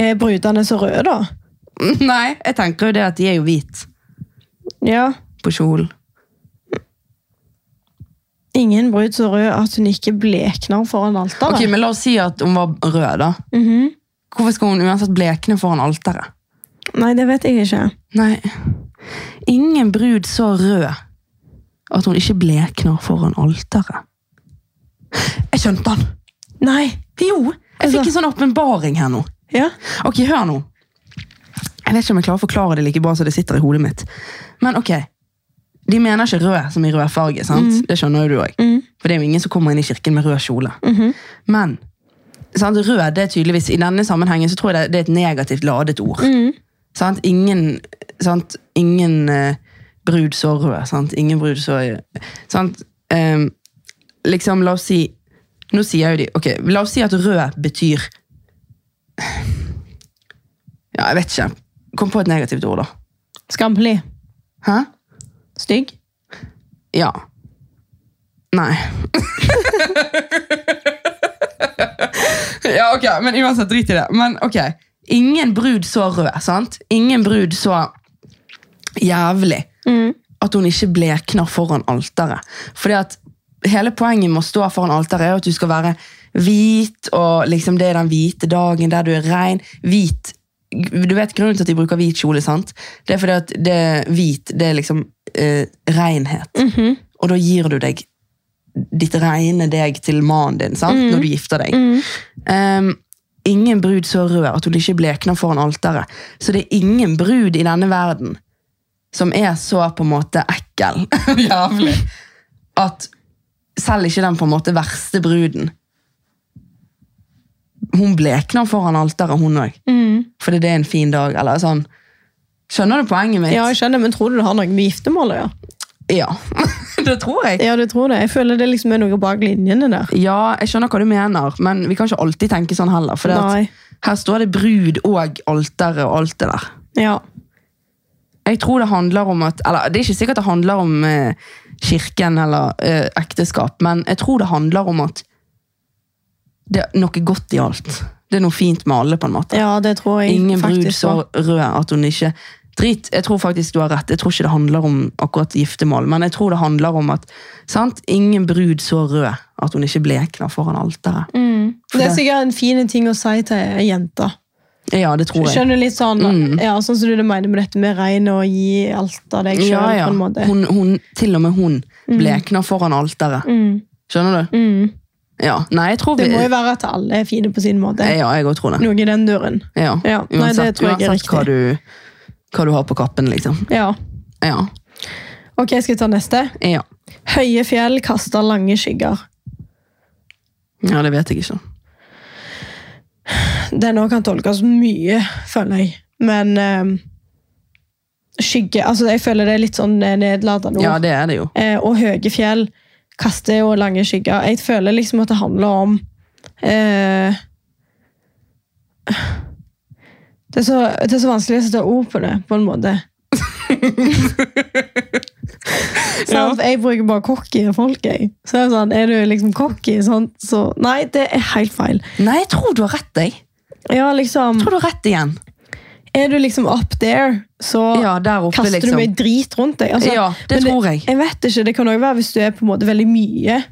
Speaker 2: Er brudene så røde, da?
Speaker 1: Nei, jeg tenker jo det at de er jo hvit
Speaker 2: Ja.
Speaker 1: på kjolen.
Speaker 2: Ingen brud så rød at hun ikke blekner foran alteret.
Speaker 1: Ok, men la oss si at hun var rød da.
Speaker 2: Mhm.
Speaker 1: Hvorfor skal hun uansett blekne foran alteret?
Speaker 2: Nei, det vet jeg ikke.
Speaker 1: Nei. Ingen brud så rød at hun ikke blekner foran alteret. Jeg skjønte den!
Speaker 2: Nei.
Speaker 1: Jo! Jeg fikk
Speaker 2: Altså-
Speaker 1: en sånn åpenbaring her nå.
Speaker 2: Ja.
Speaker 1: Ok, hør nå. Jeg vet ikke om jeg klarer å forklare det like bra som det sitter i hodet mitt. Men ok, de mener ikke rød som i rød farge, sant? Det skjønner jo du også.
Speaker 2: Mm.
Speaker 1: For det er jo ingen som kommer inn i kirken med rød kjole.
Speaker 2: Mhm.
Speaker 1: Men sant? rød, det er tydeligvis, i denne sammenhengen så tror jeg det, det er et negativt ladet ord.
Speaker 2: Mm.
Speaker 1: Sant? Ingen, sant? ingen eh, brud så rød, sant? Ingen brud så sant? Ehm, Liksom, la oss si Nå sier jo de Ok, la oss si at rød betyr Ja, jeg vet ikke. Kom på et negativt ord, da.
Speaker 2: Skampelig.
Speaker 1: Hæ?
Speaker 2: Stygg.
Speaker 1: Ja. Nei. ja, ok, men uansett, drit i det. Men ok, ingen brud så rød, sant? Ingen brud så jævlig
Speaker 2: Mm.
Speaker 1: at hun ikke blekner foran alteret. Fordi at hele poenget med å stå foran alteret er jo at du skal være hvit, og liksom det er den hvite dagen der du er ren. Hvit. Du vet grunnen til at de bruker hvit kjole, sant? Det er fordi at det hvit, det er liksom eh, renhet. Og da gir du deg ditt rene deg til mannen din, sant? Når du gifter deg. Ehm, ingen brud så rød at hun ikke blekner foran alteret. Så det er ingen brud i denne verden som er så på en måte ekkel, jævlig, at selv ikke den på en måte verste bruden, hun blekner foran alteret, hun òg. Fordi det er en fin dag, eller sånn. Skjønner du poenget mitt?
Speaker 2: Ja, jeg skjønner, men tror du det har noe med giftermål å gjøre?
Speaker 1: Ja. det tror jeg.
Speaker 2: Ja, du tror det. Jeg føler det liksom er noe bak linjene der.
Speaker 1: Ja, jeg skjønner hva du mener, men vi kan ikke alltid tenke sånn heller. For det
Speaker 2: Nei.
Speaker 1: at her står det brud og alteret og alt det der.
Speaker 2: Ja.
Speaker 1: Jeg tror det handler om at Eller det er ikke sikkert det handler om eh, kirken eller eh, ekteskap, men jeg tror det handler om at det er noe godt i alt. Det er noe fint med alle, på en måte.
Speaker 2: ja, det tror jeg
Speaker 1: Ingen brud
Speaker 2: faktisk.
Speaker 1: så
Speaker 2: på.
Speaker 1: rød at hun ikke Drit, jeg tror faktisk du har rett. Jeg tror ikke det handler om akkurat giftermål, men jeg tror det handler om at sant? Ingen brud så rød at hun ikke blekner foran alteret.
Speaker 2: Det er sikkert en fin ting å si til ei jente.
Speaker 1: Ja, det tror jeg.
Speaker 2: Skjønner du litt sånn,
Speaker 1: Mm.
Speaker 2: ja, sånn som du det mener med dette med regn og gi alt av deg sjøl,
Speaker 1: Ja, ja.
Speaker 2: på en måte. Mm.
Speaker 1: Hun, hun, til og med hun blekner foran alteret. Skjønner du? Ja. Nei, jeg tror vi
Speaker 2: Det må jo
Speaker 1: ja,
Speaker 2: være at alle er fine på sin måte.
Speaker 1: jeg òg tror det.
Speaker 2: Noe i den duren.
Speaker 1: Ja.
Speaker 2: Ja, nei, det tror jeg er
Speaker 1: uansett hva
Speaker 2: riktig.
Speaker 1: du, hva du har på kappen, liksom.
Speaker 2: Ja.
Speaker 1: Ja.
Speaker 2: Ok, skal vi ta neste?
Speaker 1: ja.
Speaker 2: Høye fjell kaster lange skygger.
Speaker 1: Ja, det vet jeg ikke.
Speaker 2: Den òg kan tolkes mye, føler jeg. Men eh, skygge altså Jeg føler det er litt sånn eh, nedlatende
Speaker 1: Ja,
Speaker 2: ord.
Speaker 1: det er det jo.
Speaker 2: Eh, og høye fjell kaster jo lange skygger. Jeg føler liksom at det handler om eh, det, er så, det er så vanskelig å sette ord på det, på en måte. Sant? Sånn Jeg bruker bare cocky folk, jeg. Så er, det sånn, er du liksom cocky, sånn, så Nei, det er helt feil.
Speaker 1: Nei, jeg tror du har rett, jeg.
Speaker 2: Ja, liksom
Speaker 1: Jeg tror du har rett igjen.
Speaker 2: Er du liksom up there, så
Speaker 1: Ja, der oppe,
Speaker 2: kaster du
Speaker 1: liksom.
Speaker 2: mye drit rundt deg. Altså,
Speaker 1: Ja, det
Speaker 2: men
Speaker 1: tror jeg.
Speaker 2: Jeg vet ikke, Det kan også være hvis du er på en måte veldig mye.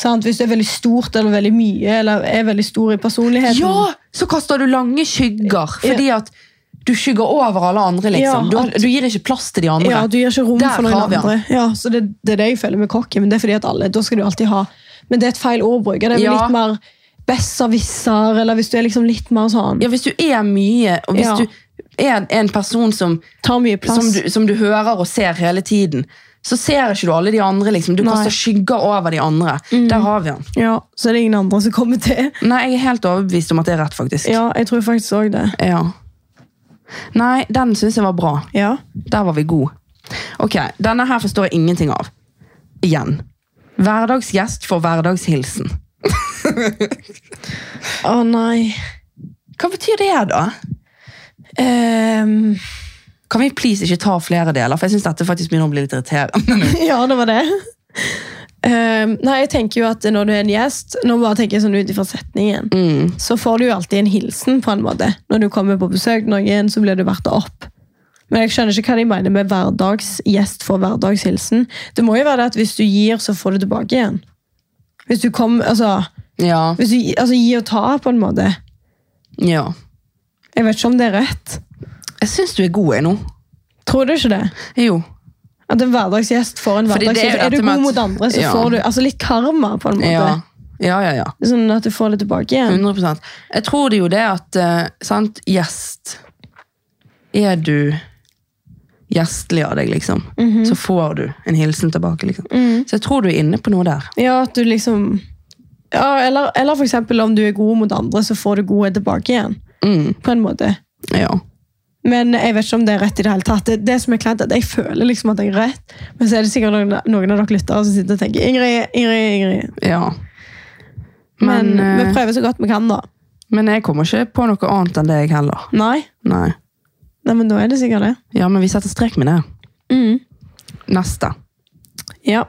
Speaker 2: Sant? Hvis du er veldig stort eller veldig mye, eller er veldig stor i personligheten.
Speaker 1: Ja! Så kaster du lange skygger, fordi at du skygger over alle andre, liksom.
Speaker 2: Ja,
Speaker 1: Du,
Speaker 2: at-
Speaker 1: du gir ikke plass til de andre.
Speaker 2: Ja, du gir ikke rom
Speaker 1: Der
Speaker 2: for noen
Speaker 1: har vi han.
Speaker 2: andre. Ja, så det, det er det jeg føler med cocky, men det er fordi at alle, da skal du alltid ha Men det er et feil ord å bruke. Det er vel
Speaker 1: Ja.
Speaker 2: litt mer besserwisser, eller hvis du er liksom litt mer sånn
Speaker 1: Ja, hvis du er mye, og hvis
Speaker 2: Ja.
Speaker 1: du er en, en person som,
Speaker 2: Tar mye plass.
Speaker 1: som, du, som du hører og ser hele tiden, så ser ikke du alle de andre. Liksom. Du
Speaker 2: Nei. Mm.
Speaker 1: kaster skygger over de andre. Der har vi han.
Speaker 2: Ja, så er det ingen andre som kommer til.
Speaker 1: Nei, jeg er helt overbevist om at det er rett, faktisk.
Speaker 2: Ja, jeg tror faktisk òg det.
Speaker 1: Ja. Nei, den syns jeg var bra.
Speaker 2: Ja.
Speaker 1: Der var vi gode. Ok, denne her forstår jeg ingenting av. Igjen. Hverdagsgjest for hverdagshilsen.
Speaker 2: Å nei.
Speaker 1: Hva betyr det, da?
Speaker 2: Ehm,
Speaker 1: Kan vi please ikke ta flere deler? For jeg syns dette faktisk begynner å bli litt irriterende.
Speaker 2: ja, det var det. Ehm, nei, jeg tenker jo at når du er en gjest, nå bare tenker jeg sånn ut ifra setningen,
Speaker 1: Mm.
Speaker 2: så får du jo alltid en hilsen på en måte. Når du kommer på besøk til noen, så blir du verta opp. Men jeg skjønner ikke hva de mener med hverdagsgjest for hverdagshilsen. Det må jo være det at hvis du gir, så får du tilbake igjen. Hvis du kom, altså,
Speaker 1: Ja.
Speaker 2: hvis du, altså gi og ta på en måte.
Speaker 1: ja.
Speaker 2: Jeg vet ikke om det er rett.
Speaker 1: Jeg syns du er god, jeg, nå.
Speaker 2: Tror du ikke det?
Speaker 1: Jo.
Speaker 2: At en hverdagsgjest får en
Speaker 1: Fordi det er jo
Speaker 2: hverdagsgjest. Er,
Speaker 1: dette
Speaker 2: du
Speaker 1: med
Speaker 2: god
Speaker 1: at-
Speaker 2: mot andre, så
Speaker 1: Ja.
Speaker 2: får du altså litt karma, på en måte.
Speaker 1: Ja. ja, ja, ja.
Speaker 2: Sånn at du får det tilbake igjen.
Speaker 1: 100 Jeg tror det er jo det at eh, sant, Gjest Er du gjestlig av deg, liksom, så får du en hilsen tilbake. liksom. Så jeg tror du er inne på noe der.
Speaker 2: Ja, at du liksom ja, eller, eller for eksempel om du er god mot andre, så får du gode tilbake igjen.
Speaker 1: Mm,
Speaker 2: På en måte.
Speaker 1: ja.
Speaker 2: Men jeg vet ikke om det er rett i det hele tatt. Det, det som er klart, er at Jeg føler liksom at jeg er rett, men så er det sikkert noen, noen av dere lyttere som sitter og tenker Ingrid, Ingrid, Ingrid.
Speaker 1: Ja.
Speaker 2: Men,
Speaker 1: Men,
Speaker 2: vi
Speaker 1: eh,
Speaker 2: prøver så godt vi kan, da.
Speaker 1: men jeg kommer ikke på noe annet enn deg heller.
Speaker 2: Nei?
Speaker 1: Nei.
Speaker 2: Nei, men da er det sikkert det.
Speaker 1: Ja, men vi setter strek med det.
Speaker 2: Mm.
Speaker 1: Neste.
Speaker 2: Ja.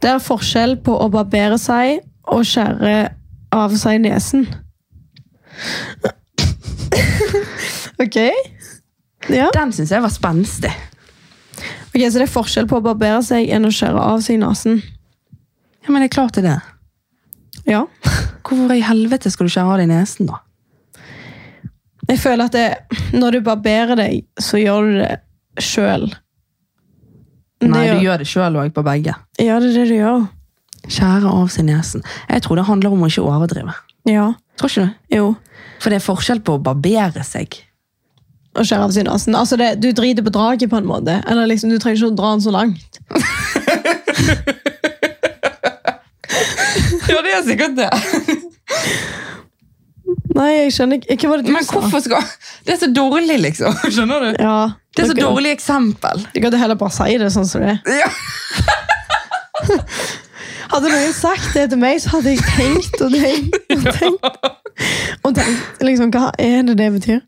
Speaker 2: Det er forskjell på å barbere seg og skjære av seg nesen. ok. Ja.
Speaker 1: Den syns jeg var spenstig.
Speaker 2: Ok, Så det er forskjell på å barbere seg enn å skjære av seg nesen.
Speaker 1: Ja, Men det er klart det er det.
Speaker 2: Ja.
Speaker 1: Hvorfor i helvete skal du skjære av deg nesen, da?
Speaker 2: Jeg føler at det, når du barberer deg, så gjør du det sjøl.
Speaker 1: Nei, du gjør det sjøl òg, på begge.
Speaker 2: Ja, det er det du gjør.
Speaker 1: Skjære av seg nesen. Jeg tror det handler om å ikke overdrive.
Speaker 2: Ja.
Speaker 1: Tror ikke du?
Speaker 2: Jo.
Speaker 1: For det er forskjell på å barbere seg.
Speaker 2: Å skjære av seg nesen. Altså det, du driter på draget, på en måte. Eller liksom, Du trenger ikke å dra den så langt.
Speaker 1: Ja, det er sikkert det.
Speaker 2: Nei, jeg skjønner ikke Hva var det du sa?
Speaker 1: skal Det er så dårlig, liksom. Skjønner du?
Speaker 2: Ja, dere-
Speaker 1: eksempel.
Speaker 2: Du kan heller bare si det sånn som det er.
Speaker 1: Ja.
Speaker 2: Hadde noen sagt det til meg, så hadde jeg tenkt og tenkt og tenkt. Og tenkt liksom, Hva er det det betyr?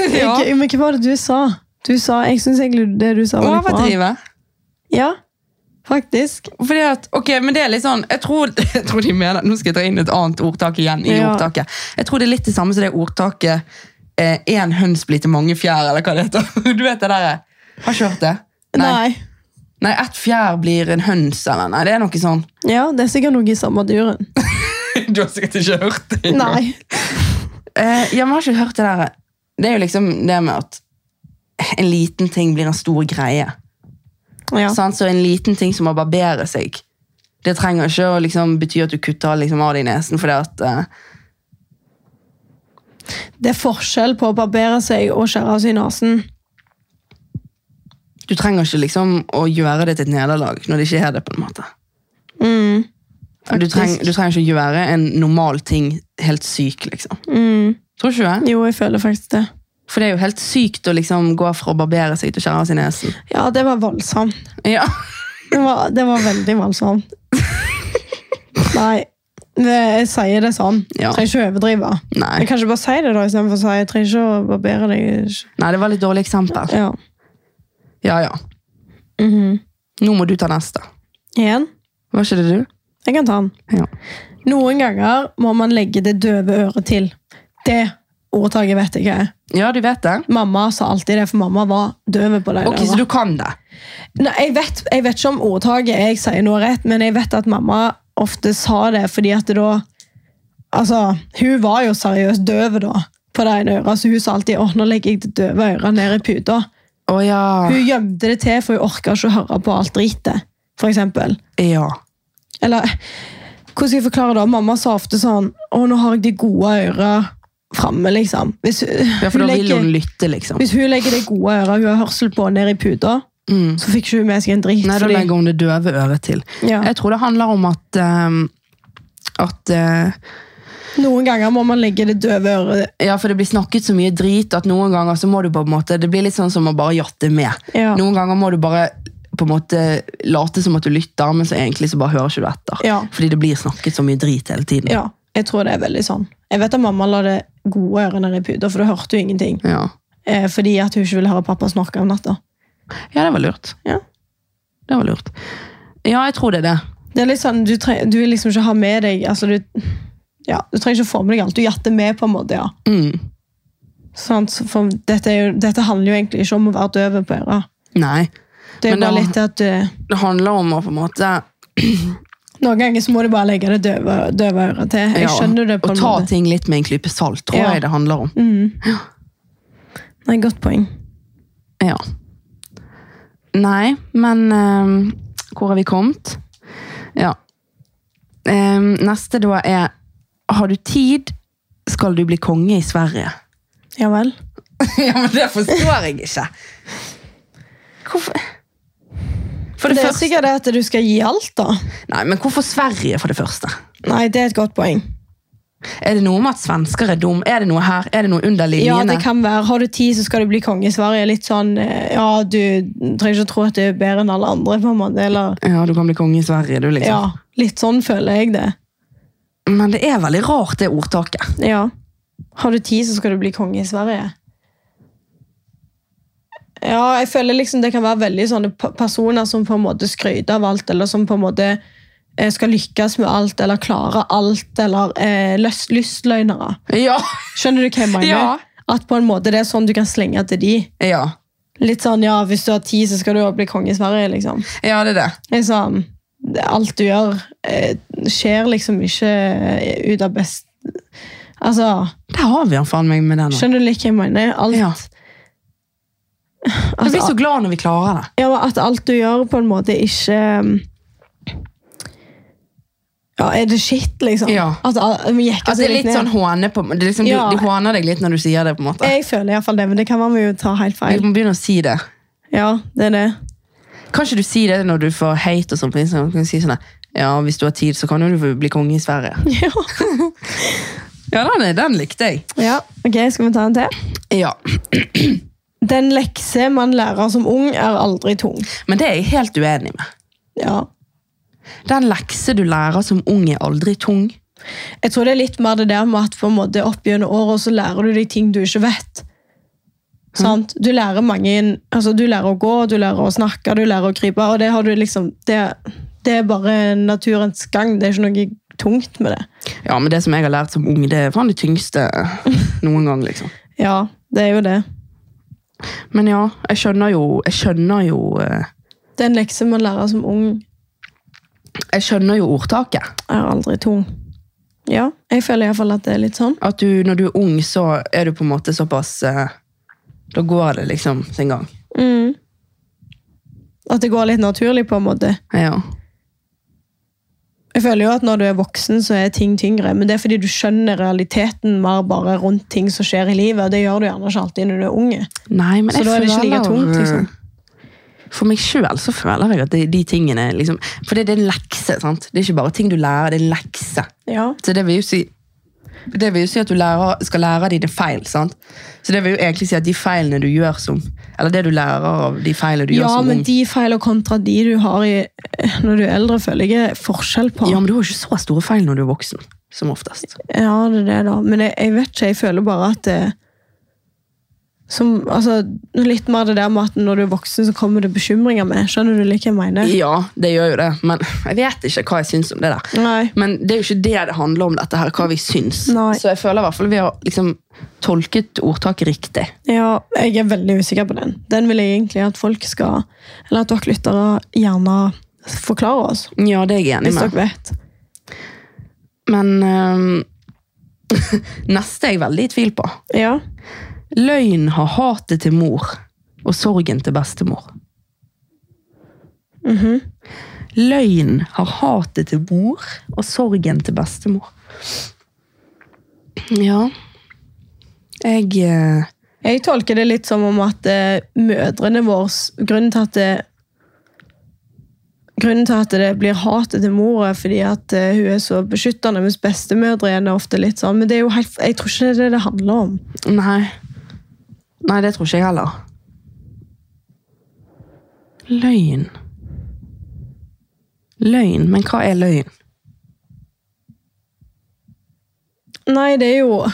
Speaker 2: Jeg, men hva var det du sa? Du sa, Jeg syns egentlig det du sa, var litt bra. Ja, faktisk.
Speaker 1: Fordi at, ok, men det er litt sånn jeg tror, jeg tror de mener, Nå skal jeg ta inn et annet ordtak igjen. i
Speaker 2: Ja.
Speaker 1: ordtaket. Jeg tror det er litt det samme som det ordtaket eh, 'én høns blir til mange fjær', eller hva det heter. Du vet det der, eh? Har ikke hørt det?
Speaker 2: Nei.
Speaker 1: Nei, ett fjær blir en høns, eller nei, det er noe sånn.
Speaker 2: Ja, det er sikkert noe i samme duren.
Speaker 1: Du har sikkert ikke hørt det.
Speaker 2: Nei.
Speaker 1: Eh, ja, men har ikke hørt det der. Det er jo liksom det med at en liten ting blir en stor greie.
Speaker 2: Ja.
Speaker 1: Sant? Så en liten ting som å barbere seg, det trenger ikke å liksom bety at du kutter liksom av deg nesen. fordi at... eh,
Speaker 2: Det er forskjell på å barbere seg og skjære av seg nesen.
Speaker 1: Du trenger ikke liksom å gjøre det til et nederlag når det ikke er det. på en måte.
Speaker 2: Mm.
Speaker 1: Du,
Speaker 2: Faktisk.
Speaker 1: treng, du trenger ikke å gjøre en normal ting helt syk, liksom.
Speaker 2: Mm.
Speaker 1: Tror ikke du det?
Speaker 2: Jo, jeg føler faktisk det.
Speaker 1: For det er jo helt sykt å liksom gå fra å barbere seg til å skjære av seg nesen.
Speaker 2: Ja, det var voldsomt.
Speaker 1: Ja.
Speaker 2: Det var, det var veldig voldsomt. Nei, det, jeg sier det sånn.
Speaker 1: Ja.
Speaker 2: Trenger ikke å overdrive.
Speaker 1: Nei.
Speaker 2: Jeg kan ikke bare si det da, istedenfor å si jeg trenger ikke å barbere deg.
Speaker 1: Nei, det var litt dårlig eksempel.
Speaker 2: Ja.
Speaker 1: Ja, ja. Nå må du ta neste.
Speaker 2: Igjen.
Speaker 1: Mhm. Var ikke det du?
Speaker 2: Jeg kan ta den.
Speaker 1: Ja.
Speaker 2: Noen ganger må man legge det døve øret til. Det ordtaket vet jeg hva er.
Speaker 1: Ja, du vet det.
Speaker 2: Mamma sa alltid det, for mamma var døve på det.
Speaker 1: Ok,
Speaker 2: øret.
Speaker 1: Så du kan det?
Speaker 2: Nei, jeg, vet, jeg vet ikke om ordtaket jeg sier nå er rett, men jeg vet at mamma ofte sa det fordi at det da Altså, hun var jo seriøst døv da, på det ene øret, så hun sa alltid åh, nå legger jeg det døve øret ned i puta.
Speaker 1: Å ja.
Speaker 2: Hun gjemte det til, for hun orka ikke å høre på alt dritet, for eksempel.
Speaker 1: Ja.
Speaker 2: Eller hvordan skal jeg forklare det? Mamma sa ofte sånn Å, nå har jeg de gode øra framme, liksom. Hvis,
Speaker 1: ja for
Speaker 2: hun
Speaker 1: da vil
Speaker 2: legger,
Speaker 1: hun lytte, liksom.
Speaker 2: hvis hun legger det gode øret hun har hørsel på, ned i puta,
Speaker 1: Mm.
Speaker 2: så fikk ikke hun med seg en drit.
Speaker 1: Nei, da
Speaker 2: fordi-
Speaker 1: legger hun det døve øret til.
Speaker 2: ja.
Speaker 1: Jeg tror det handler om at ehm, at eh,
Speaker 2: Noen ganger må man legge det døve øret
Speaker 1: Ja, for det blir snakket så mye drit at noen ganger så må du på en måte Det blir litt sånn som å bare jatte med.
Speaker 2: Ja.
Speaker 1: Noen ganger må du bare på en måte late som at du lytter, men så egentlig så bare hører ikke du etter.
Speaker 2: Ja.
Speaker 1: Fordi det blir snakket så mye drit hele tiden.
Speaker 2: Ja, jeg tror det er veldig sånn. Jeg vet at mamma la det gode øret ned i puta, for da hørte hun ingenting.
Speaker 1: Ja.
Speaker 2: Eh, fordi at hun ikke ville høre pappa snakke om natta.
Speaker 1: Ja, det var lurt.
Speaker 2: Ja.
Speaker 1: Det var lurt. Ja, jeg tror det er det.
Speaker 2: Det er litt sånn, du, treng, du vil liksom ikke ha med deg altså du, ja, du trenger ikke å få med deg alt. Du jatter med, på en måte. ja.
Speaker 1: Mm.
Speaker 2: Sant? Så For dette, er jo, dette handler jo egentlig ikke om å være døv på øret.
Speaker 1: Nei.
Speaker 2: Det er
Speaker 1: Men
Speaker 2: jo bare
Speaker 1: det-
Speaker 2: litt at eh,
Speaker 1: Det handler om å på en måte
Speaker 2: Noen ganger så må du bare legge det døve, døve øret til. Jeg
Speaker 1: ja,
Speaker 2: skjønner det
Speaker 1: Å
Speaker 2: på en
Speaker 1: ta
Speaker 2: måte.
Speaker 1: ting litt med en Mm. klype salt, tror
Speaker 2: Ja.
Speaker 1: jeg det handler om.
Speaker 2: Nei, godt poeng.
Speaker 1: Ja. Nei, men ehm, hvor har vi kommet? Ja. Ehm, neste da er Har du tid, skal du bli konge i Sverige.
Speaker 2: Ja vel.
Speaker 1: ja, men det forstår jeg ikke. Hvorfor For det,
Speaker 2: Det er
Speaker 1: første
Speaker 2: sikkert det at du skal gi alt, da.
Speaker 1: Nei, men hvorfor Sverige, for det første?
Speaker 2: Nei, det er et godt poeng.
Speaker 1: Er det noe med at svensker er dum? Er det noe her? Er det noe under
Speaker 2: Ja,
Speaker 1: linjene?
Speaker 2: det kan være. Har du tid, så skal du bli konge i Sverige. Litt sånn, eh, ja, du trenger ikke å tro at du er bedre enn alle andre, på en måte. Eller,
Speaker 1: Ja, du kan bli konge i Sverige, du, liksom.
Speaker 2: ja, litt sånn føler jeg det.
Speaker 1: Men det er veldig rart, det ordtaket.
Speaker 2: Ja. Har du tid, så skal du bli konge i Sverige. Ja, jeg føler liksom det kan være veldig sånne p- personer som på en måte skryter av alt, eller som på en måte eh, skal lykkes med alt, eller klare alt, eller eh, lyst, lystløgnere.
Speaker 1: Ja!
Speaker 2: Skjønner du hva jeg mener?
Speaker 1: Ja.
Speaker 2: At på en måte det er sånn du kan slenge til de.
Speaker 1: Ja,
Speaker 2: Litt sånn, ja, hvis du har tid, så skal du også bli konge i Sverige, liksom.
Speaker 1: ja det er det.
Speaker 2: Jeg sa, det- alt du gjør, eh, skjer liksom ikke eh, ut av best... Altså,
Speaker 1: Der har vi han faen meg med den. nå.
Speaker 2: Skjønner du litt hva jeg mener? Alt,
Speaker 1: Ja. Jeg
Speaker 2: at,
Speaker 1: blir så glad når vi klarer det.
Speaker 2: ja, at alt du gjør, på en måte ikke um, Ja, er det shit, liksom?
Speaker 1: Ja.
Speaker 2: At, al- vi jekker
Speaker 1: At det
Speaker 2: seg
Speaker 1: er
Speaker 2: litt
Speaker 1: litt
Speaker 2: ned.
Speaker 1: sånn håne på det er liksom,
Speaker 2: Ja.
Speaker 1: du, De håner deg litt når du sier det, på en måte.
Speaker 2: Jeg føler iallfall det, men det kan man jo ta helt
Speaker 1: Du
Speaker 2: feil.
Speaker 1: må begynne å si det.
Speaker 2: Ja, det er det.
Speaker 1: Kan ikke du si det når du får hate og sånn på Instagram? Kan du si sånn, ja, hvis du har tid, så kan jo du bli konge i Sverige.
Speaker 2: Ja.
Speaker 1: Ja, den, er- den likte jeg.
Speaker 2: ja, ok, Skal vi ta en til?
Speaker 1: Ja,
Speaker 2: Den lekse man lærer som ung, er aldri tung.
Speaker 1: Men det er jeg helt uenig med.
Speaker 2: Ja.
Speaker 1: Den lekse du lærer som ung, er aldri tung.
Speaker 2: Jeg tror det er litt mer det der med at på en måte opp gjennom året så lærer du deg ting du ikke vet. Sant? Du lærer mange altså Du lærer å gå, du lærer å snakke, du lærer å krype. og Det har du liksom, det, det er bare naturens gang. Det er ikke noe tungt med det.
Speaker 1: Ja, men det som jeg har lært som ung, det er faen det tyngste noen gang, liksom.
Speaker 2: Ja, det er jo det.
Speaker 1: Men ja, jeg skjønner jo Jeg skjønner jo, eh,
Speaker 2: Det er en lekse man lærer som ung,
Speaker 1: jeg skjønner jo ordtaket.
Speaker 2: er aldri tung. Ja, jeg føler iallfall at det er litt sånn.
Speaker 1: At du, når du er ung, så er du på en måte såpass eh, Da går det liksom sin gang.
Speaker 2: Mm. At det går litt naturlig, på en måte.
Speaker 1: Ja.
Speaker 2: Jeg føler jo at når du er voksen, så er ting tyngre. Men det er fordi du skjønner realiteten mer bare rundt ting som skjer i livet. og Det gjør du gjerne ikke alltid når du er unge.
Speaker 1: Nei, men
Speaker 2: Så
Speaker 1: jeg
Speaker 2: da er det ikke
Speaker 1: føler-
Speaker 2: like tungt, liksom.
Speaker 1: For meg sjøl så føler jeg at de, de tingene liksom For det, det er en lekse, sant? Det er ikke bare ting du lærer, det er en lekse.
Speaker 2: Ja.
Speaker 1: Så det vil jo si det vil jo si at du lærer, skal lære av dine feil. sant? Så det vil jo egentlig si at de feilene du gjør som Eller det du lærer av de feilene du
Speaker 2: ja,
Speaker 1: gjør som
Speaker 2: men
Speaker 1: ung
Speaker 2: de feil og kontra de du har i, når du er eldre, føler jeg er forskjell på.
Speaker 1: Ja, men du har jo ikke så store feil når du er voksen. Som oftest.
Speaker 2: Ja, det er det, da. Men jeg, jeg vet ikke, jeg føler bare at det som, altså, Litt mer det der med at når du er voksen, så kommer det bekymringer med. Skjønner du like hva jeg mener?
Speaker 1: Ja, det gjør jo det, men jeg vet ikke hva jeg syns om det der.
Speaker 2: Nei.
Speaker 1: Men det er jo ikke det det handler om, dette her, hva vi syns.
Speaker 2: Nei.
Speaker 1: Så jeg føler i hvert fall vi har liksom tolket ordtaket riktig.
Speaker 2: Ja, jeg er veldig usikker på den. Den vil jeg egentlig at folk skal, eller at dere lyttere gjerne forklarer oss,
Speaker 1: Ja, det er jeg enig
Speaker 2: hvis
Speaker 1: med.
Speaker 2: dere vet.
Speaker 1: Men øhm, neste er jeg veldig i tvil på.
Speaker 2: Ja.
Speaker 1: Løgn har hatet til mor og sorgen til bestemor. Mhm. Løgn har hatet til mor og sorgen til bestemor. Ja Jeg eh,
Speaker 2: Jeg tolker det litt som om at eh, mødrene våre Grunnen til at det Grunnen til at det blir hatet til mora fordi at eh, hun er så beskyttende, mens bestemødre igjen er ofte litt sånn. Men det er jo helt, jeg tror ikke det er det det handler om.
Speaker 1: Nei. Nei, det tror ikke jeg heller. Løgn Løgn, men hva er løgn?
Speaker 2: Nei, det er jo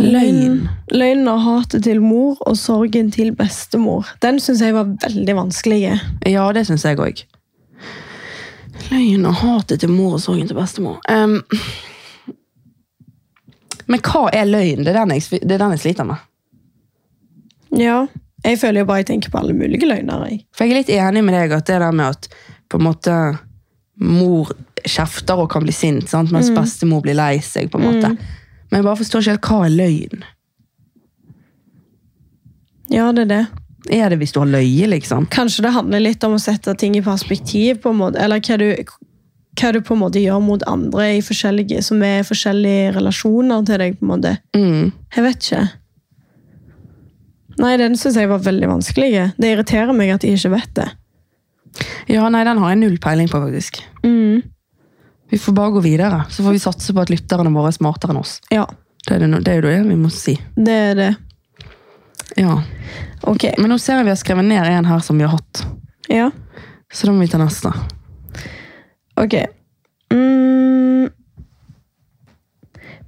Speaker 1: Løgn.
Speaker 2: Løgnen og hatet til mor og sorgen til bestemor. Den syns jeg var veldig vanskelig.
Speaker 1: Ja, det syns jeg òg. Løgn og hatet til mor og sorgen til bestemor. Ehm, men hva er løgn? Det er den jeg, svi- det er den jeg sliter med.
Speaker 2: Ja. Jeg føler jo bare jeg tenker på alle mulige løgner. Jeg.
Speaker 1: For jeg er litt enig med deg at det der med at på en måte mor kjefter og kan bli sint, sant? mens bestemor blir lei seg. på en måte. Men jeg bare forstår ikke helt hva er løgn.
Speaker 2: Ja, det er det.
Speaker 1: Er det hvis du har løyet, liksom?
Speaker 2: Kanskje det handler litt om å sette ting i perspektiv, på en måte, eller hva du, hva du på en måte gjør mot andre i forskjellige, som er i forskjellige relasjoner til deg. på en måte.
Speaker 1: Mm.
Speaker 2: Jeg vet ikke. Nei, den syns jeg var veldig vanskelig. Det irriterer meg at jeg ikke vet det.
Speaker 1: Ja, nei, den har jeg null peiling på, faktisk. Vi får bare gå videre, så får vi satse på at lytterne våre er smartere enn oss.
Speaker 2: Ja,
Speaker 1: Det er, det, no- det, er jo det vi må si.
Speaker 2: det er det.
Speaker 1: Ja.
Speaker 2: Ok.
Speaker 1: Men nå ser jeg vi har skrevet ned en her som vi har hatt.
Speaker 2: Ja.
Speaker 1: Så da må vi ta neste.
Speaker 2: Ok. Mm.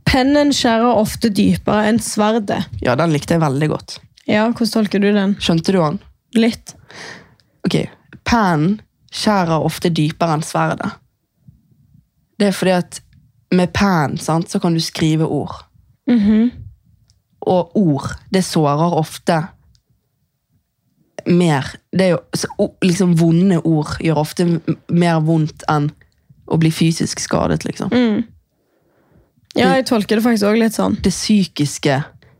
Speaker 2: Pennen skjærer ofte dypere enn sverdet.
Speaker 1: Ja, den likte jeg veldig godt.
Speaker 2: Ja, hvordan tolker du den?
Speaker 1: Skjønte du han?
Speaker 2: Litt.
Speaker 1: Ok, pennen skjærer ofte dypere enn sverdet. Det er fordi at med penn sant, så kan du skrive ord. Og ord, det sårer ofte mer. Det er jo, så, o- liksom vonde ord gjør ofte m- mer vondt enn å bli fysisk skadet, liksom.
Speaker 2: Ja, jeg tolker det faktisk også litt sånn.
Speaker 1: Det psykiske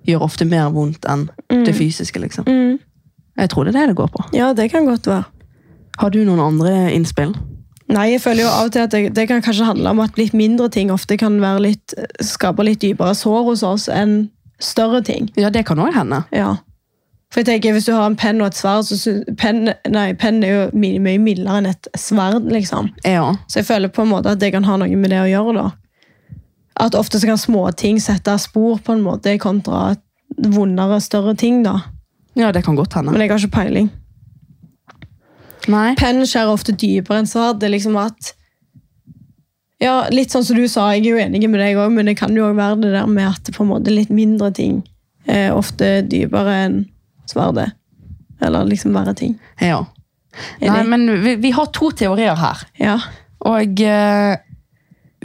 Speaker 1: gjør ofte mer vondt enn det fysiske, liksom. Jeg tror det er det det går på.
Speaker 2: Ja, det kan godt være.
Speaker 1: Har du noen andre innspill?
Speaker 2: Nei, jeg føler jo av og til at det, det kan kanskje handle om at litt mindre ting ofte kan være litt, skape litt dypere sår hos oss enn større ting.
Speaker 1: Ja, det kan òg hende.
Speaker 2: Ja. For jeg tenker, hvis du har en penn og et sverd, så sy- penn, nei, penn er jo mye, mye mildere enn et sverd, liksom.
Speaker 1: Ja.
Speaker 2: Så jeg føler på en måte at det kan ha noe med det å gjøre, da. At ofte så kan småting sette spor, på en måte, kontra vondere, større ting, da.
Speaker 1: Ja, det kan godt hende.
Speaker 2: Men jeg har ikke peiling.
Speaker 1: Nei.
Speaker 2: Pennen skjærer ofte dypere enn sverd. Det er liksom at Ja, litt sånn som du sa, jeg er jo enig med deg òg, men det kan jo òg være det der med at på en måte litt mindre ting er ofte dypere enn sverdet. Eller liksom verre ting.
Speaker 1: Ja.
Speaker 2: Enig.
Speaker 1: Nei, men vi, vi har to teorier her.
Speaker 2: Ja.
Speaker 1: Og eh,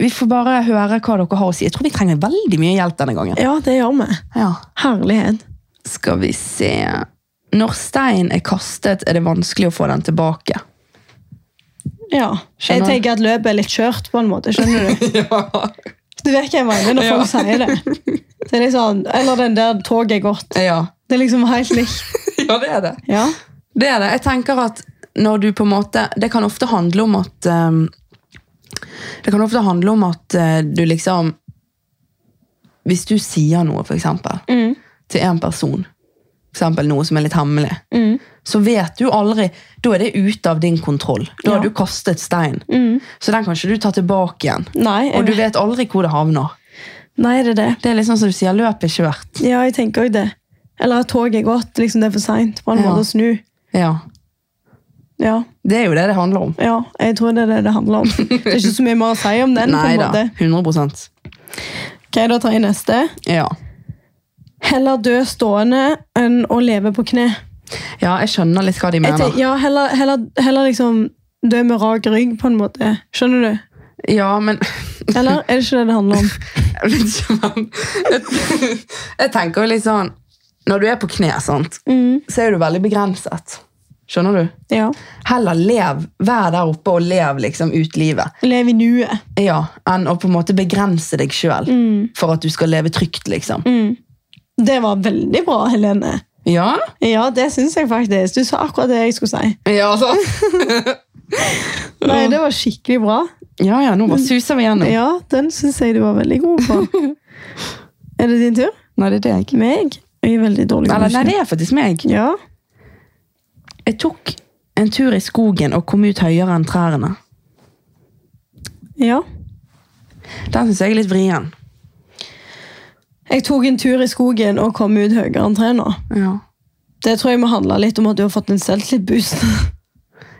Speaker 1: vi får bare høre hva dere har å si. Jeg tror vi trenger veldig mye hjelp denne gangen.
Speaker 2: ja, det gjør vi.
Speaker 1: Ja.
Speaker 2: Herlighet.
Speaker 1: Skal vi se Når stein er kastet, er det vanskelig å få den tilbake.
Speaker 2: Ja.
Speaker 1: Skjønner.
Speaker 2: Jeg tenker at løpet er litt kjørt, på en måte. Skjønner du? Du vet hva jeg mener når folk sier det. det er liksom, eller den der 'toget er gått'.
Speaker 1: Ja.
Speaker 2: Det er liksom helt likt.
Speaker 1: ja, det er det.
Speaker 2: Ja.
Speaker 1: Det er det. Jeg tenker at når du på en måte Det kan ofte handle om at eh, Det kan ofte handle om at eh, du liksom Hvis du sier noe, for eksempel,
Speaker 2: Mm.
Speaker 1: til en person, for eksempel noe som er litt hemmelig,
Speaker 2: Mm.
Speaker 1: så vet du aldri Da er det ute av din kontroll. Da har
Speaker 2: Ja. Mm.
Speaker 1: du kastet stein. Så den kan ikke du ta tilbake igjen.
Speaker 2: Nei,
Speaker 1: Og du
Speaker 2: jeg,
Speaker 1: vet aldri hvor det havner.
Speaker 2: nei, det er det.
Speaker 1: Det er litt sånn som du sier, løpet er kjørt.
Speaker 2: Ja, jeg tenker òg det. Eller at toget er gått. Liksom det er for seint på en
Speaker 1: Ja.
Speaker 2: måte å snu.
Speaker 1: Ja.
Speaker 2: Ja,
Speaker 1: Det er jo det det handler om.
Speaker 2: ja, jeg tror det er det det handler om. Det er ikke så mye mer å si om den.
Speaker 1: Nei
Speaker 2: på en
Speaker 1: da.
Speaker 2: måte.
Speaker 1: 100
Speaker 2: Ok, da tar jeg neste.
Speaker 1: ja.
Speaker 2: Heller dø stående enn å leve på kne.
Speaker 1: ja, jeg skjønner litt hva de
Speaker 2: Jeg
Speaker 1: mener.
Speaker 2: tenker, ja, heller, heller, heller liksom dø med rak rygg, på en måte. Skjønner du?
Speaker 1: Ja, men
Speaker 2: Eller er det ikke det det handler om?
Speaker 1: Jeg vet ikke, men jeg, jeg tenker jo litt sånn Når du er på kne, sant,
Speaker 2: Mm.
Speaker 1: så er du veldig begrenset. Skjønner du?
Speaker 2: Ja.
Speaker 1: Heller lev, vær der oppe og lev liksom ut livet,
Speaker 2: Leve i nuet.
Speaker 1: ja, enn å på en måte begrense deg sjøl
Speaker 2: Mm.
Speaker 1: for at du skal leve trygt, liksom.
Speaker 2: Det var veldig bra, Helene.
Speaker 1: Ja?
Speaker 2: Ja, det syns jeg faktisk. Du sa akkurat det jeg skulle si.
Speaker 1: Ja, altså.
Speaker 2: Nei, Det var skikkelig bra.
Speaker 1: ja, ja, nå bare suser vi gjennom.
Speaker 2: Mm. Ja, den syns jeg du var veldig god på. er det din tur?
Speaker 1: Nei, det er deg.
Speaker 2: Meg? Jeg er veldig dårlig
Speaker 1: Eller, nei,
Speaker 2: huske.
Speaker 1: det er faktisk meg.
Speaker 2: Ja.
Speaker 1: Jeg tok en tur i skogen og kom ut høyere enn trærne.
Speaker 2: ja.
Speaker 1: Den syns jeg er litt vrien.
Speaker 2: Jeg tok en tur i skogen og kom ut høyere enn tre nå.
Speaker 1: Ja.
Speaker 2: Det tror jeg må handle litt om at du har fått en selvtillitsboost.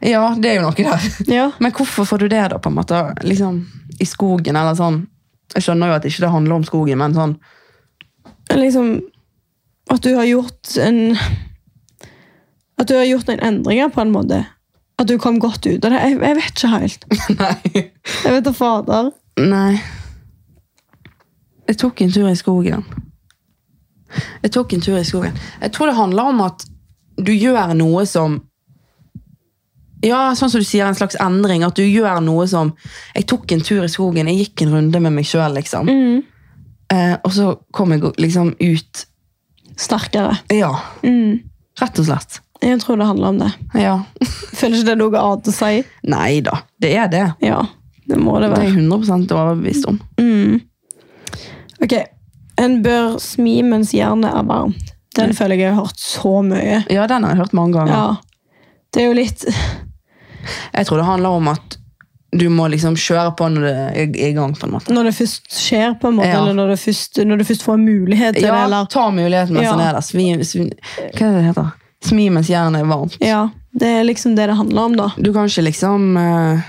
Speaker 1: ja, det er jo noe der.
Speaker 2: ja.
Speaker 1: Men hvorfor får du det da, på en måte? Liksom, I skogen, eller sånn? Jeg skjønner jo at ikke det handler om skogen, men sånn
Speaker 2: Liksom At du har gjort en At du har gjort noen endringer, på en måte. At du kom godt ut av det. Jeg, jeg vet ikke helt.
Speaker 1: Nei.
Speaker 2: Jeg vet da fader.
Speaker 1: Nei. Jeg tok en tur i skogen. Jeg tok en tur i skogen. Jeg tror det handler om at du gjør noe som Ja, sånn som du sier, en slags endring. At du gjør noe som Jeg tok en tur i skogen, jeg gikk en runde med meg sjøl, liksom.
Speaker 2: Mm.
Speaker 1: Eh, og så kom jeg liksom ut
Speaker 2: Sterkere. Mm.
Speaker 1: Ja. Rett og slett.
Speaker 2: Jeg tror det handler om det.
Speaker 1: Ja.
Speaker 2: Føler ikke det er noe annet å si.
Speaker 1: Nei da, det er det.
Speaker 2: Ja, det må det
Speaker 1: Det er
Speaker 2: være.
Speaker 1: jeg 100 overbevist om.
Speaker 2: Ok, En bør smi mens jernet er varmt. Den føler jeg jeg har hørt så mye.
Speaker 1: Ja, den har jeg hørt mange ganger.
Speaker 2: Ja. Det er jo litt
Speaker 1: Jeg tror det handler om at du må liksom kjøre på når det er er i gang, på en måte.
Speaker 2: Når det først skjer, på en måte,
Speaker 1: Ja.
Speaker 2: eller når, det først, når du først får en mulighet til det.
Speaker 1: Ja,
Speaker 2: Eller,
Speaker 1: ta muligheten mens
Speaker 2: Ja.
Speaker 1: den er der. Svi, svi, hva er det det heter? Smi mens jernet er varmt.
Speaker 2: ja, det er liksom det det handler om, da.
Speaker 1: Du kan ikke liksom eh,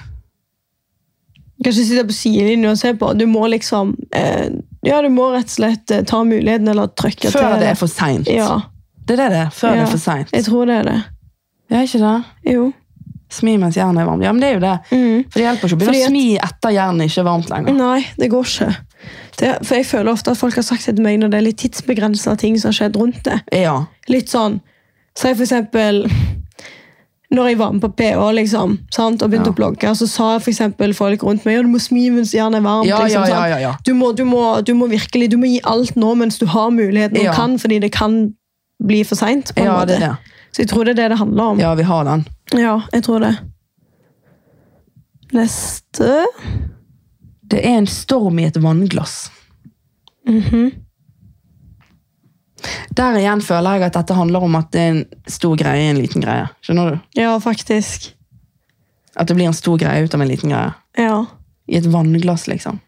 Speaker 2: Du kan ikke sitte på sidelinjen og se på. Du må liksom eh, Ja, du må rett og slett eh, ta muligheten, eller trykke til.
Speaker 1: Før det er for seint.
Speaker 2: Ja,
Speaker 1: Det er det det er. Før det
Speaker 2: Ja.
Speaker 1: er for seint.
Speaker 2: jeg tror det er det.
Speaker 1: Ja, ikke det?
Speaker 2: Jo.
Speaker 1: Smi mens jernet er varmt. Ja, men det er jo det.
Speaker 2: Mm.
Speaker 1: For det hjelper ikke å begynne
Speaker 2: Fordi
Speaker 1: å
Speaker 2: at-
Speaker 1: smi etter jernet ikke er varmt lenger.
Speaker 2: Nei, det går ikke. Det, for jeg føler ofte at folk har sagt det til meg når det er litt tidsbegrensa ting som har skjedd rundt det.
Speaker 1: Ja.
Speaker 2: Litt sånn Si for eksempel når jeg var med på PH liksom, sant, og begynte
Speaker 1: Ja.
Speaker 2: å blogge, så sa for eksempel folk rundt meg «Ja, du må smi mens jernet er varmt.
Speaker 1: Ja,
Speaker 2: liksom,
Speaker 1: ja, ja,
Speaker 2: sant?
Speaker 1: ja, ja.
Speaker 2: Du, må, du, må, du må virkelig du må gi alt nå mens du har muligheten og
Speaker 1: Ja.
Speaker 2: kan, fordi det kan bli for seint.
Speaker 1: ja det er det.
Speaker 2: Så jeg tror det er det det handler om.
Speaker 1: Ja, vi har den.
Speaker 2: ja jeg tror det. Neste
Speaker 1: Det er en storm i et vannglass. Mm-hmm. Der igjen føler jeg at dette handler om at det er en stor greie i en liten greie. Skjønner du?
Speaker 2: Ja, faktisk.
Speaker 1: At det blir en stor greie ut av en liten greie.
Speaker 2: Ja.
Speaker 1: I et vannglass, liksom.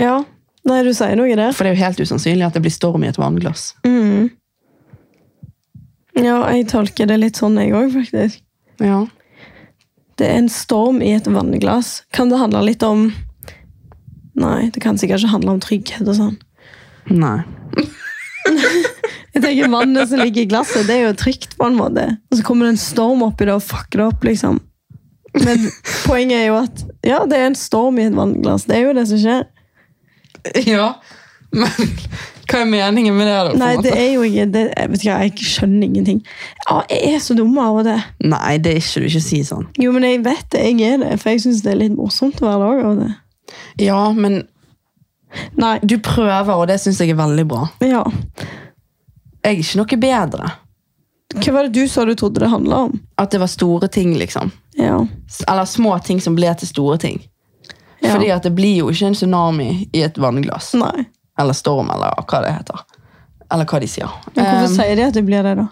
Speaker 2: Ja. Nei, du sier noe der.
Speaker 1: For det er jo helt usannsynlig at det blir storm i et vannglass.
Speaker 2: Mm. Ja, jeg tolker det litt sånn, jeg òg, faktisk.
Speaker 1: Ja.
Speaker 2: Det er en storm i et vannglass. Kan det handle litt om Nei, det kan sikkert ikke handle om trygghet og sånn.
Speaker 1: Nei.
Speaker 2: Jeg tenker Vannet som ligger i glasset, det er jo trygt, på en måte. Og så kommer det en storm oppi det og fucker det opp, liksom. Men poenget er jo at ja, det er en storm i et vannglass. Det er jo det som skjer.
Speaker 1: Ja, men hva er meningen med det? da? på en
Speaker 2: Nei, det
Speaker 1: måte?
Speaker 2: er jo ikke det, jeg, vet ikke, jeg skjønner ingenting. Ja, jeg er så dum av og til.
Speaker 1: Nei, det er ikke du ikke si sånn.
Speaker 2: Jo, men jeg vet det. Jeg er det, for jeg syns det er litt morsomt hver dag. Og det.
Speaker 1: Ja, men
Speaker 2: Nei,
Speaker 1: du prøver, og det syns jeg er veldig bra.
Speaker 2: ja.
Speaker 1: Jeg er ikke noe bedre.
Speaker 2: Hva var det du sa du trodde det handla om?
Speaker 1: At det var store ting, liksom.
Speaker 2: Ja.
Speaker 1: S- Eller små ting som ble til store ting.
Speaker 2: ja.
Speaker 1: Fordi at det blir jo ikke en tsunami i et vannglass.
Speaker 2: Nei.
Speaker 1: Eller storm, eller hva det heter. Eller hva de sier.
Speaker 2: Men hvorfor
Speaker 1: Um,
Speaker 2: sier de at det blir det, da?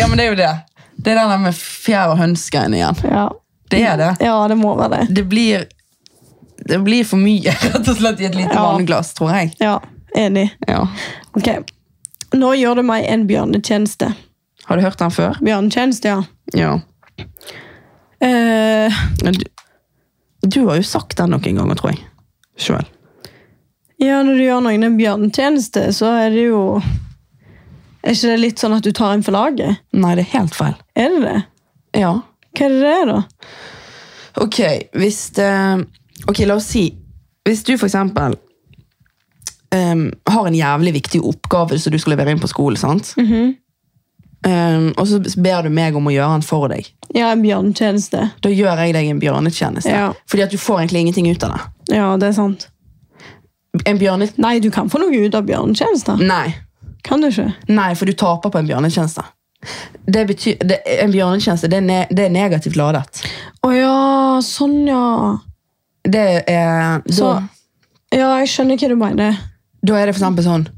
Speaker 1: ja, men det er jo det. Det er den der med fjær og høns-greiene igjen.
Speaker 2: Ja.
Speaker 1: Det er det.
Speaker 2: ja, det må være det.
Speaker 1: Det blir, det blir for mye, rett og slett, i et lite
Speaker 2: Ja.
Speaker 1: vannglass, tror jeg.
Speaker 2: Ja, Enig.
Speaker 1: Ja.
Speaker 2: Ok. Nå gjør du meg en bjørnetjeneste.
Speaker 1: Har du hørt den før?
Speaker 2: Bjørnetjeneste, ja.
Speaker 1: Ja.
Speaker 2: Eh,
Speaker 1: Men Du, du har jo sagt den noen ganger, tror jeg. Sjøl.
Speaker 2: ja, når du gjør noen en bjørnetjeneste, så er det jo Er ikke det litt sånn at du tar en for laget?
Speaker 1: Nei, det er helt feil.
Speaker 2: Er det det?
Speaker 1: Ja.
Speaker 2: Hva er det det er, da?
Speaker 1: Ok, hvis det, Ok, la oss si Hvis du for eksempel em, har en jævlig viktig oppgave som du skal levere inn på skolen, sant?
Speaker 2: Mhm.
Speaker 1: Em, og så ber du meg om å gjøre den for deg.
Speaker 2: Ja, en bjørnetjeneste.
Speaker 1: Da gjør jeg deg en bjørnetjeneste.
Speaker 2: Ja.
Speaker 1: Fordi at du får egentlig ingenting ut av det.
Speaker 2: Ja, det er sant.
Speaker 1: En bjørnet...
Speaker 2: Nei, du kan få noe ut av bjørnetjenester.
Speaker 1: Nei.
Speaker 2: Kan du ikke?
Speaker 1: Nei, for du taper på en bjørnetjeneste. Det betyr, det, en bjørnetjeneste det er, ne, det er negativt ladet.
Speaker 2: Å ja, sånn ja.
Speaker 1: Det er, da,
Speaker 2: Så, ja, jeg skjønner hva du mener.
Speaker 1: da er det for eksempel sånn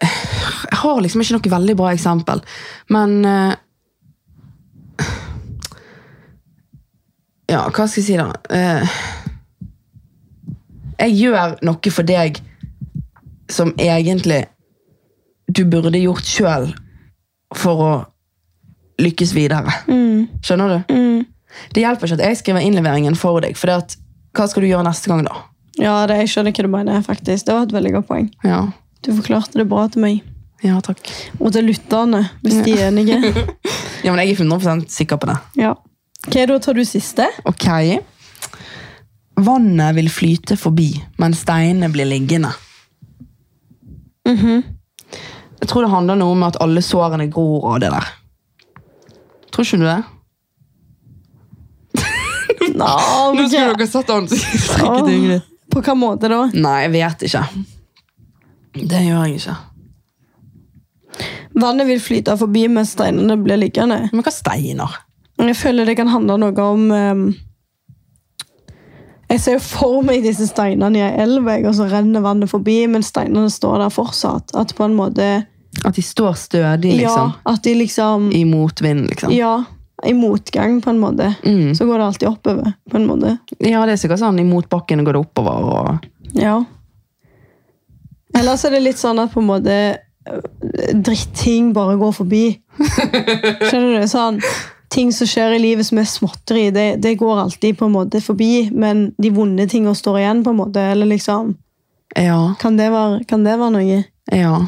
Speaker 1: Jeg har liksom ikke noe veldig bra eksempel, men eh, Ja, hva skal jeg si, da? Eh, jeg gjør noe for deg som egentlig du burde gjort sjøl for å lykkes videre. Skjønner du? Det hjelper ikke at jeg skriver innleveringen for deg. For det at, hva skal du gjøre neste gang, da?
Speaker 2: Ja, det, jeg skjønner hva du mener, faktisk. Det var et veldig godt poeng.
Speaker 1: Ja,
Speaker 2: Du forklarte det bra til meg.
Speaker 1: ja takk.
Speaker 2: Og til lytterne, hvis de er enige.
Speaker 1: Ja, men jeg er 100 sikker på det.
Speaker 2: Ja. Ok, da tar du siste.
Speaker 1: Ok. Vannet vil flyte forbi, men steinene blir liggende.
Speaker 2: Mhm.
Speaker 1: Jeg tror det handler noe om at alle sårene gror av det der. Tror ikke du det?
Speaker 2: Nå, ok.
Speaker 1: dere sett
Speaker 2: Åh,
Speaker 1: ansiktet
Speaker 2: På hvilken måte da?
Speaker 1: Nei, jeg vet ikke. Det gjør jeg ikke.
Speaker 2: Vannet vil flyte forbi mens steinene blir liggende.
Speaker 1: Men hva steiner?
Speaker 2: Men Jeg føler det kan handle noe om ehm, Jeg ser jo for meg disse steinene i ei elv, jeg, og så renner vannet forbi, men steinene står der fortsatt. At på en måte
Speaker 1: At de står stødig, liksom.
Speaker 2: Ja, at de liksom
Speaker 1: I motvind, liksom.
Speaker 2: Ja. i motgang, på en måte,
Speaker 1: Mm.
Speaker 2: så går det alltid oppover. på en måte.
Speaker 1: Ja, det er sikkert sånn. I motbakken går det oppover. Og...
Speaker 2: Ja. Ellers er det litt sånn at på en måte øh, dritting bare går forbi. Skjønner du? Sånn, ting som skjer i livet som er småtteri, det, det går alltid på en måte forbi, men de vonde tingene står igjen, på en måte. Eller liksom,
Speaker 1: Ja,
Speaker 2: kan det være, kan det være noe?
Speaker 1: ja.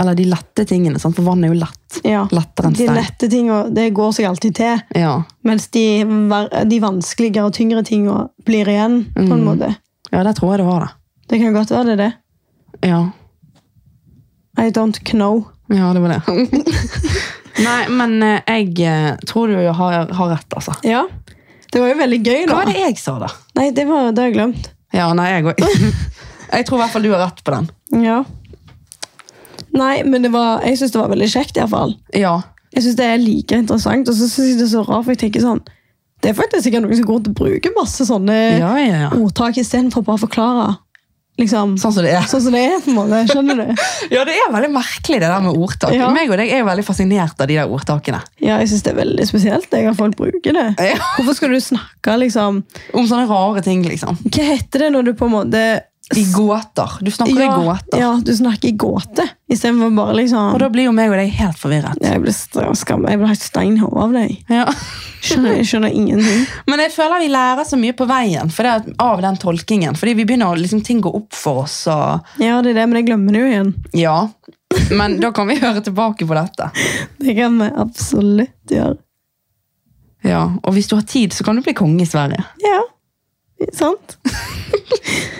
Speaker 1: Eller de lette tingene, sant? for vann er jo lett.
Speaker 2: Ja.
Speaker 1: Lettere enn
Speaker 2: De
Speaker 1: stein.
Speaker 2: lette tingene, det går seg alltid til.
Speaker 1: Ja.
Speaker 2: Mens de, ver- de vanskeligere og tyngre tingene blir igjen, på
Speaker 1: Mm.
Speaker 2: en måte.
Speaker 1: ja, det tror jeg det var, da.
Speaker 2: Det kan godt være det, er det.
Speaker 1: Ja.
Speaker 2: I don't know.
Speaker 1: Ja, det var det. Nei, men eh, jeg eh, tror du har, har rett, altså.
Speaker 2: Ja. Det var jo veldig gøy, da.
Speaker 1: Hva var det jeg sa, da?
Speaker 2: Nei, det var det har jeg glemt.
Speaker 1: Ja, nei, jeg òg. Jeg tror i hvert fall du har rett på den.
Speaker 2: Ja. Nei, men det var, jeg syns det var veldig kjekt, iallfall.
Speaker 1: Ja.
Speaker 2: Jeg syns det er like interessant, og så syns jeg det er så rart, for jeg tenker sånn Det er faktisk sikkert noen som går til å bruke masse sånne
Speaker 1: Ja, ja, ja.
Speaker 2: ordtak istedenfor bare å forklare. Liksom,
Speaker 1: Sånn som det er.
Speaker 2: sånn som det er, på en måte. Skjønner du?
Speaker 1: Ja, det er veldig merkelig, det der med ordtak.
Speaker 2: Ja.
Speaker 1: Meg og deg er jo veldig fascinert av de der ordtakene.
Speaker 2: Ja, jeg syns det er veldig spesielt jeg, at folk bruker det.
Speaker 1: Ja.
Speaker 2: Hvorfor skal du snakke, liksom
Speaker 1: Om sånne rare ting, liksom.
Speaker 2: Hva heter det når du på en måte
Speaker 1: I gåter. Du snakker i gåter.
Speaker 2: ja, du snakker i gåte istedenfor bare liksom
Speaker 1: Og da blir jo meg og deg helt forvirret.
Speaker 2: Jeg blir stra- skam, jeg blir helt stein i hodet av deg.
Speaker 1: Ja.
Speaker 2: Skjønner, jeg skjønner ingenting.
Speaker 1: Men jeg føler vi lærer så mye på veien for det at, av den tolkingen. Fordi vi begynner å liksom, ting går opp for oss. Og,
Speaker 2: Ja, det er det, men jeg glemmer det jo igjen.
Speaker 1: ja. Men da kan vi høre tilbake på dette.
Speaker 2: Det kan vi absolutt gjøre.
Speaker 1: Ja. Og hvis du har tid, så kan du bli konge i Sverige.
Speaker 2: Ja, sant?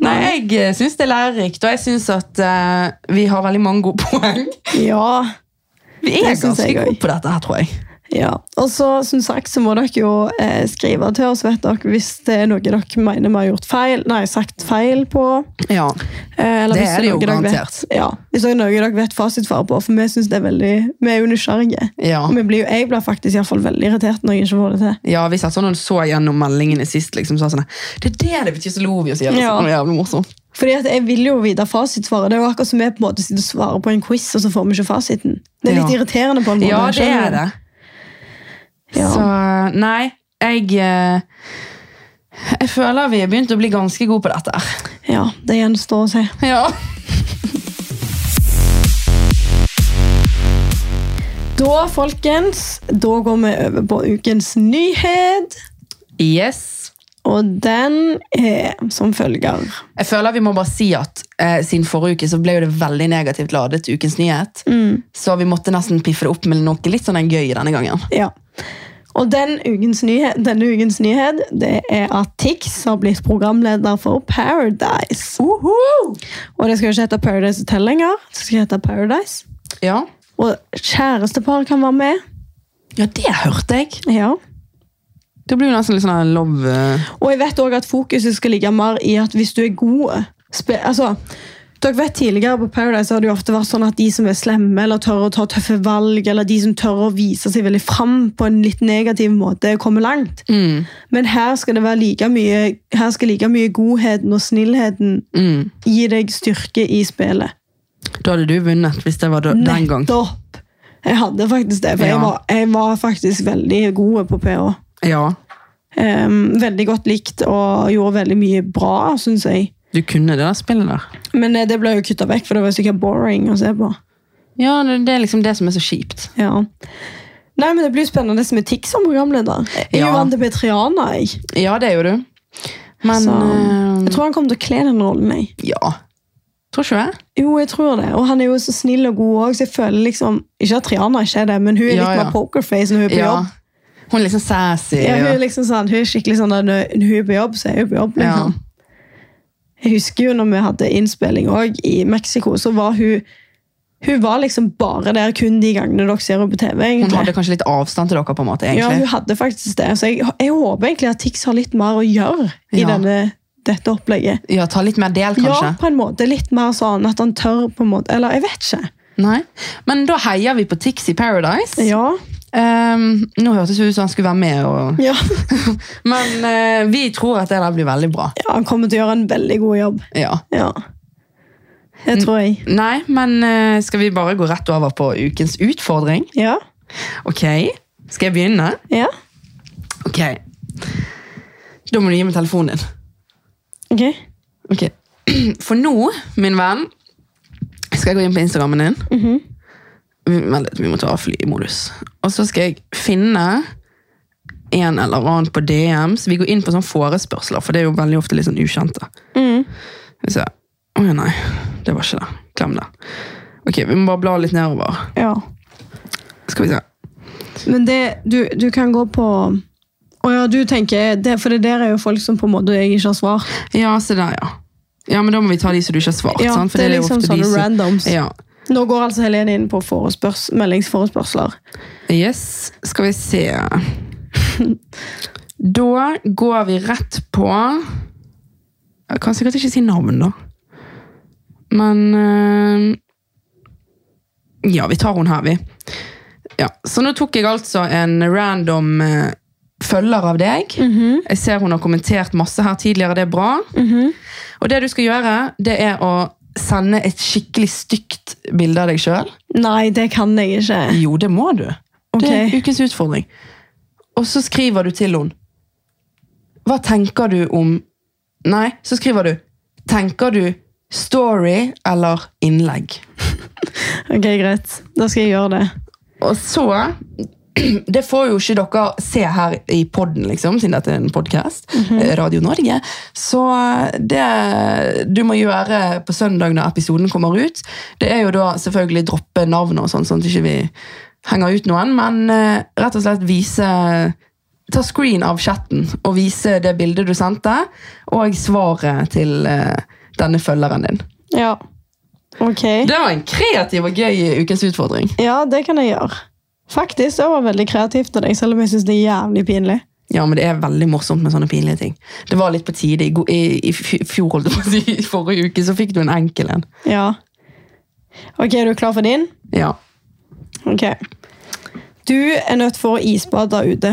Speaker 1: Nei, jeg syns det er lærerikt, og jeg syns at eh, vi har veldig mange gode poeng.
Speaker 2: Ja.
Speaker 1: Vi er
Speaker 2: Det synes
Speaker 1: ganske
Speaker 2: jeg
Speaker 1: gode
Speaker 2: også.
Speaker 1: på dette her, tror jeg.
Speaker 2: ja. Og så, som sagt, så må dere jo eh, skrive til oss vet dere, hvis det er noe dere mener vi har gjort feil, nei, sagt feil på.
Speaker 1: Ja.
Speaker 2: Eh, eller
Speaker 1: Det
Speaker 2: hvis
Speaker 1: er det jo
Speaker 2: noe dere vet-
Speaker 1: garantert.
Speaker 2: Ja, hvis det er noe dere vet fasitsvar på, for vi synes det er veldig, vi er jo nysgjerrige.
Speaker 1: Ja.
Speaker 2: Og vi blir jo, jeg blir faktisk i hvert fall veldig irritert når jeg ikke får det til.
Speaker 1: ja, vi satt sånn og så gjennom meldingene sist. liksom, sa sånn, Det er det det betyr, så lo vi oss i hjel.
Speaker 2: Ja.
Speaker 1: Det var jævlig morsomt.
Speaker 2: Fordi at jeg vil jo vite fasitsvaret. Det er jo akkurat som vi på en måte sitter og svarer på en quiz, og så får vi ikke fasiten. Det er litt
Speaker 1: Ja.
Speaker 2: irriterende på en måte.
Speaker 1: Ja, det
Speaker 2: skjønner
Speaker 1: er
Speaker 2: du?
Speaker 1: det.
Speaker 2: Ja.
Speaker 1: Så nei, jeg eh, Jeg føler vi har begynt å bli ganske gode på dette her.
Speaker 2: Ja, det gjenstår å se.
Speaker 1: Ja.
Speaker 2: Da, folkens, da går vi over på ukens nyhet.
Speaker 1: Yes.
Speaker 2: Og den er som følger.
Speaker 1: Jeg føler vi må bare si at eh, siden forrige uke så ble jo det veldig negativt ladet til ukens nyhet. Så vi måtte nesten piffe det opp med noe litt sånn gøy denne gangen.
Speaker 2: Ja. Og den ukens nyhet, denne ukens nyhet det er at Tix har blitt programleder for Paradise. Og det skal jo ikke hete Paradise Hotel lenger. Det skal hete Paradise.
Speaker 1: Ja.
Speaker 2: Og kjærestepar kan være med.
Speaker 1: ja, det hørte jeg.
Speaker 2: Ja.
Speaker 1: Det blir jo nesten litt sånn her love eh,
Speaker 2: Og jeg vet også at fokuset skal ligge mer i at hvis du er god spe, altså, dere vet Tidligere på Paradise har det jo ofte vært sånn at de som er slemme eller tør å ta tøffe valg, eller de som tør å vise seg veldig fram på en litt negativ måte, kommer langt.
Speaker 1: mm,
Speaker 2: Men her skal det være like mye, her skal like mye godheten og snillheten
Speaker 1: mm.
Speaker 2: gi deg styrke i spillet.
Speaker 1: Da hadde du vunnet hvis det var da, den gang.
Speaker 2: Nettopp! Jeg hadde faktisk det, for jeg,
Speaker 1: Ja.
Speaker 2: var, jeg var faktisk veldig god på PH.
Speaker 1: Ja.
Speaker 2: Em, Ehm, veldig godt likt og gjorde veldig mye bra, syns jeg.
Speaker 1: Du kunne det der spillet der.
Speaker 2: Men eh, det ble jo kutta vekk, for det var sikkert boring å se på.
Speaker 1: Ja, det det er liksom det som er så kjipt.
Speaker 2: Ja. Nei, men Det blir jo spennende med Tix som programleder. Jeg er
Speaker 1: Ja.
Speaker 2: jo vant til Petriana. Jeg.
Speaker 1: Ja, det er jo du. Men
Speaker 2: Så,
Speaker 1: eh,
Speaker 2: jeg tror han kommer til å kle den rollen. Jeg.
Speaker 1: Ja. Tror ikke du det?
Speaker 2: Jo, jeg tror det. Og han er jo så snill og god òg, så jeg føler liksom Ikke at Triana ikke er det, men hun er litt
Speaker 1: Ja, ja.
Speaker 2: mer pokerface når hun er på jobb.
Speaker 1: Hun er liksom sassy.
Speaker 2: Ja, hun er
Speaker 1: og-
Speaker 2: liksom sånn, hun er skikkelig sånn at når når hun er på jobb, så er hun på jobb.
Speaker 1: Ja.
Speaker 2: Liksom. Jeg husker jo når vi hadde innspilling også, i Mexico, så var hun Hun var liksom bare der kun de gangene dere ser henne på TV.
Speaker 1: Hun
Speaker 2: egentlig.
Speaker 1: hadde kanskje litt avstand til dere, på en måte.
Speaker 2: Ja,
Speaker 1: egentlig.
Speaker 2: hun hadde faktisk det. Så jeg, jeg håper egentlig at Tix har litt mer å gjøre i
Speaker 1: Ja.
Speaker 2: denne, dette opplegget.
Speaker 1: Ja, Ta litt mer del,
Speaker 2: Ja,
Speaker 1: kanskje.
Speaker 2: på en måte. Litt mer sånn at han tør på en måte. Eller jeg vet ikke.
Speaker 1: Nei. Men da heier vi på Tix i Paradise.
Speaker 2: Ja.
Speaker 1: Ehm, nå hørtes det ut som han skulle være med. Og...
Speaker 2: Ja.
Speaker 1: Men eh, vi tror at det der blir veldig bra.
Speaker 2: ja, han kommer til å gjøre en veldig god jobb.
Speaker 1: Ja.
Speaker 2: Ja. Det
Speaker 1: Mm.
Speaker 2: tror jeg.
Speaker 1: Nei, men eh, skal vi bare gå rett over på ukens utfordring?
Speaker 2: Ja.
Speaker 1: Ok. Skal jeg begynne?
Speaker 2: Ja.
Speaker 1: Ok. Da må du gi meg telefonen din.
Speaker 2: Ok.
Speaker 1: Ok. For nå, min venn, skal jeg gå inn på Instagrammen din.
Speaker 2: Mhm.
Speaker 1: Vi- Vent litt, vi må ta flymodus. Og så skal jeg finne en eller annen på DM, så vi går inn på sånne forespørsler, for det er jo veldig ofte litt sånn ukjente.
Speaker 2: Mm.
Speaker 1: Skal vi se. Å ja, nei, det var ikke det. Glem det. Ok, vi må bare bla litt nedover.
Speaker 2: Ja.
Speaker 1: Skal vi se.
Speaker 2: Men det Du, du kan gå på Å ja, du tenker det, For det der er jo folk som på en måte jeg ikke har svart.
Speaker 1: Ja, se der, ja. Ja, men da må vi ta de som du ikke har svart,
Speaker 2: Ja,
Speaker 1: sant? For
Speaker 2: det er
Speaker 1: jo
Speaker 2: liksom
Speaker 1: ofte de
Speaker 2: sånne
Speaker 1: som-
Speaker 2: randoms.
Speaker 1: Ja.
Speaker 2: Nå går altså Helene inn på forespørs, meldingsforespørsler.
Speaker 1: Yes, skal vi se. Da går vi rett på Jeg kan sikkert ikke si navn, da. Men eh, Ja, vi tar hun her, vi. Ja, Så nå tok jeg altså en random eh, følger av deg. Jeg ser hun har kommentert masse her tidligere, det er bra. Og det du skal gjøre, det er å sende et skikkelig stygt bilde av deg sjøl.
Speaker 2: Nei, det kan jeg ikke.
Speaker 1: Jo, det må du.
Speaker 2: Ok.
Speaker 1: Det er ukens utfordring. Og så skriver du til henne. Hva tenker du om Nei, så skriver du. Tenker du story eller innlegg?
Speaker 2: Ok, Greit. Da skal jeg gjøre det.
Speaker 1: Og så Det får jo ikke dere se her i podden, liksom, siden dette er en podkast. Radio Norge. Så eh, det du må gjøre på søndag når episoden kommer ut, det er jo da selvfølgelig droppe navnet og sånn, sånn at ikke vi henger ut noen, men eh, rett og slett vise Ta screen av chatten og vise det bildet du sendte, og svaret til eh, denne følgeren din.
Speaker 2: Ja. Ok.
Speaker 1: Det var en kreativ og gøy ukens utfordring.
Speaker 2: Ja, det kan jeg gjøre. Faktisk, det var veldig kreativt av deg, selv om jeg syns det er jævlig pinlig.
Speaker 1: Ja, men det er veldig morsomt med sånne pinlige ting. Det var litt på tide. I, go- i, i fj- fjor, holdt jeg på å si, i forrige uke, så fikk du en enkel en.
Speaker 2: Ja. Ok, er du klar for din?
Speaker 1: Ja.
Speaker 2: Ok. Du er nødt for å isbade ute.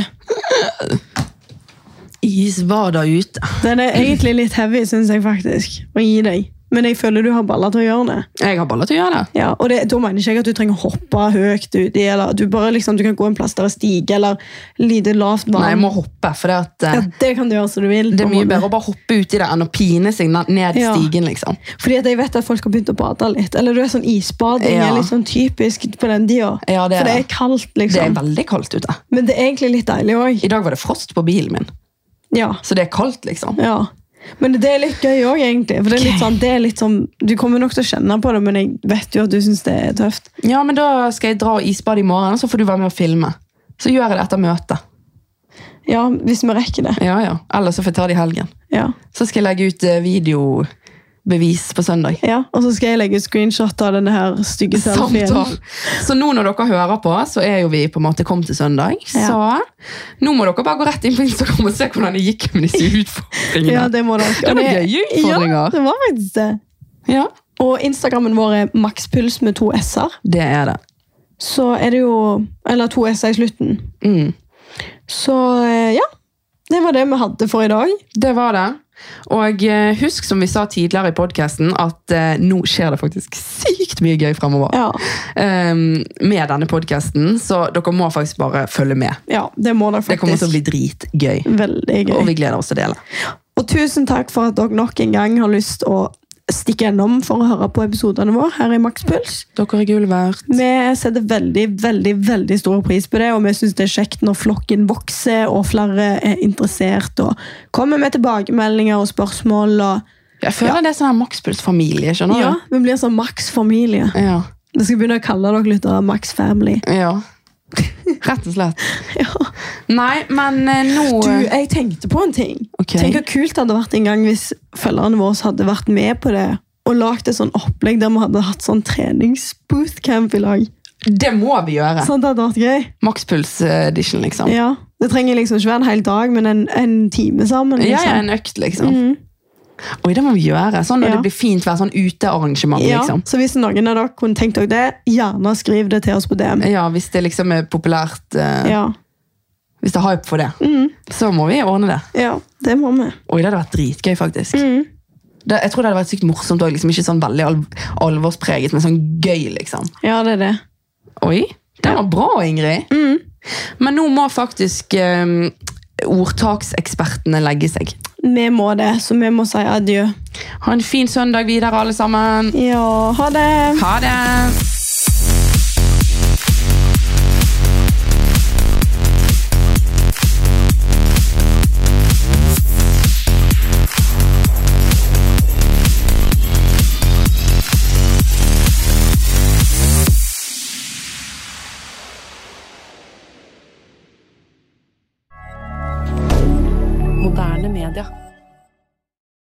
Speaker 1: Isbader ute.
Speaker 2: Den er egentlig litt heavy, syns jeg faktisk, å gi deg. Men jeg føler du har baller til å gjøre det.
Speaker 1: Jeg har baller til å gjøre det.
Speaker 2: Ja, og det, Da mener ikke jeg at du trenger å hoppe høyt uti, eller du bare liksom, du kan gå en plass der det er stige, eller lite lavt vann.
Speaker 1: Nei, jeg må hoppe, for det, at,
Speaker 2: ja,
Speaker 1: eh,
Speaker 2: det kan du gjøre som du vil.
Speaker 1: det er
Speaker 2: på en
Speaker 1: mye
Speaker 2: måte.
Speaker 1: bedre å bare hoppe uti det enn å pine seg na- ned
Speaker 2: Ja.
Speaker 1: stigen, liksom.
Speaker 2: Fordi at jeg vet at folk har begynt å bade litt. Eller du er sånn isbading
Speaker 1: Ja.
Speaker 2: er litt sånn typisk på den tida.
Speaker 1: Ja, det er sånn.
Speaker 2: For det er
Speaker 1: det.
Speaker 2: kaldt,
Speaker 1: Det er
Speaker 2: liksom.
Speaker 1: veldig kaldt ute.
Speaker 2: Men det er egentlig litt deilig òg.
Speaker 1: I dag var det frost på bilen min,
Speaker 2: Ja.
Speaker 1: så det er kaldt, liksom.
Speaker 2: ja. Men det er litt gøy òg, egentlig. For det er litt
Speaker 1: Ok.
Speaker 2: sånn, det er litt sånn, Du kommer nok til å kjenne på det, men jeg vet jo at du syns det er tøft.
Speaker 1: Ja, men da skal jeg dra og isbade i morgen, så får du være med og filme. Så gjør jeg det etter møtet.
Speaker 2: Ja, hvis vi rekker det.
Speaker 1: Ja, ja. Eller så får jeg ta det i helgen.
Speaker 2: Ja.
Speaker 1: Så skal jeg legge ut eh, videobevis på søndag.
Speaker 2: ja. Og så skal jeg legge ut screenshot av denne her stygge selfien.
Speaker 1: Samtale. Så nå når dere hører på, så er jo vi på en måte kommet til søndag.
Speaker 2: Ja.
Speaker 1: Så nå må dere bare gå rett inn på Instagram og se hvordan det gikk med disse utfordringene.
Speaker 2: Ja, det må dere.
Speaker 1: Det var
Speaker 2: Og
Speaker 1: gøye utfordringer.
Speaker 2: Ja, det var faktisk det.
Speaker 1: Ja,
Speaker 2: Og Instagrammen vår er makspuls med to s-er.
Speaker 1: det er det.
Speaker 2: Så er det jo Eller to s-er i slutten.
Speaker 1: Mm.
Speaker 2: Så eh, ja, det var det vi hadde for i dag.
Speaker 1: Det var det. Og eh, husk, som vi sa tidligere i podkasten, at eh, nå skjer det faktisk sykt mye gøy fremover.
Speaker 2: Ja,
Speaker 1: Ehm, med denne podkasten, så dere må faktisk bare følge med.
Speaker 2: ja det må dere
Speaker 1: Det
Speaker 2: faktisk.
Speaker 1: kommer til å bli dritgøy.
Speaker 2: veldig gøy.
Speaker 1: Og
Speaker 2: Og,
Speaker 1: vi gleder oss til å dele.
Speaker 2: tusen takk for at dere nok en gang har lyst å stikke innom for å høre på episodene våre her i Makspuls.
Speaker 1: Dere er gull verdt.
Speaker 2: Vi setter veldig, veldig, veldig stor pris på det, og vi syns det er kjekt når flokken vokser og flere er interessert og kommer med tilbakemeldinger og spørsmål og
Speaker 1: Jeg føler det er sånn her makspuls-familie. skjønner
Speaker 2: Ja, vi blir sånn Max-familie.
Speaker 1: du? Ja.
Speaker 2: Vi skal begynne å kalle dere lyttere Max Family.
Speaker 1: Ja. Rett og slett.
Speaker 2: Ja.
Speaker 1: Nei, men eh, nå
Speaker 2: Du, jeg tenkte på en ting.
Speaker 1: Ok.
Speaker 2: Tenk hvor kult det hadde vært en gang hvis følgerne våre hadde vært med på det og lagd et sånn opplegg der vi hadde hatt sånn treningsbootcamp i lag.
Speaker 1: Det må vi gjøre.
Speaker 2: Sånn, det hadde vært gøy.
Speaker 1: Makspuls-edition, liksom.
Speaker 2: Ja. Det trenger liksom ikke være en hel dag, men en, en time sammen.
Speaker 1: Ja, ja,
Speaker 2: Liksom.
Speaker 1: en økt, liksom. Oi, det må vi gjøre. Sånn når
Speaker 2: Ja.
Speaker 1: det blir fint vær, sånn utearrangement,
Speaker 2: Ja,
Speaker 1: liksom.
Speaker 2: Så hvis noen av dere kunne tenkt dere det, gjerne skriv det til oss på DM.
Speaker 1: Ja, hvis det liksom er populært, eh,
Speaker 2: Ja,
Speaker 1: hvis det er hype for det, så må vi ordne det.
Speaker 2: ja det må vi.
Speaker 1: Oi, det hadde vært dritgøy, faktisk. Det, jeg tror det hadde vært sykt morsomt òg. Liksom, ikke sånn veldig alv alvorspreget, men sånn gøy, liksom.
Speaker 2: Ja, det er det.
Speaker 1: Oi, det var bra, Ingrid. Mm. Men nå må faktisk eh, ordtaksekspertene legge seg.
Speaker 2: Vi må det, så vi må si adjø.
Speaker 1: Ha en fin søndag videre, alle sammen.
Speaker 2: Ja, ha det!
Speaker 1: Ha det!
Speaker 3: Moderne media.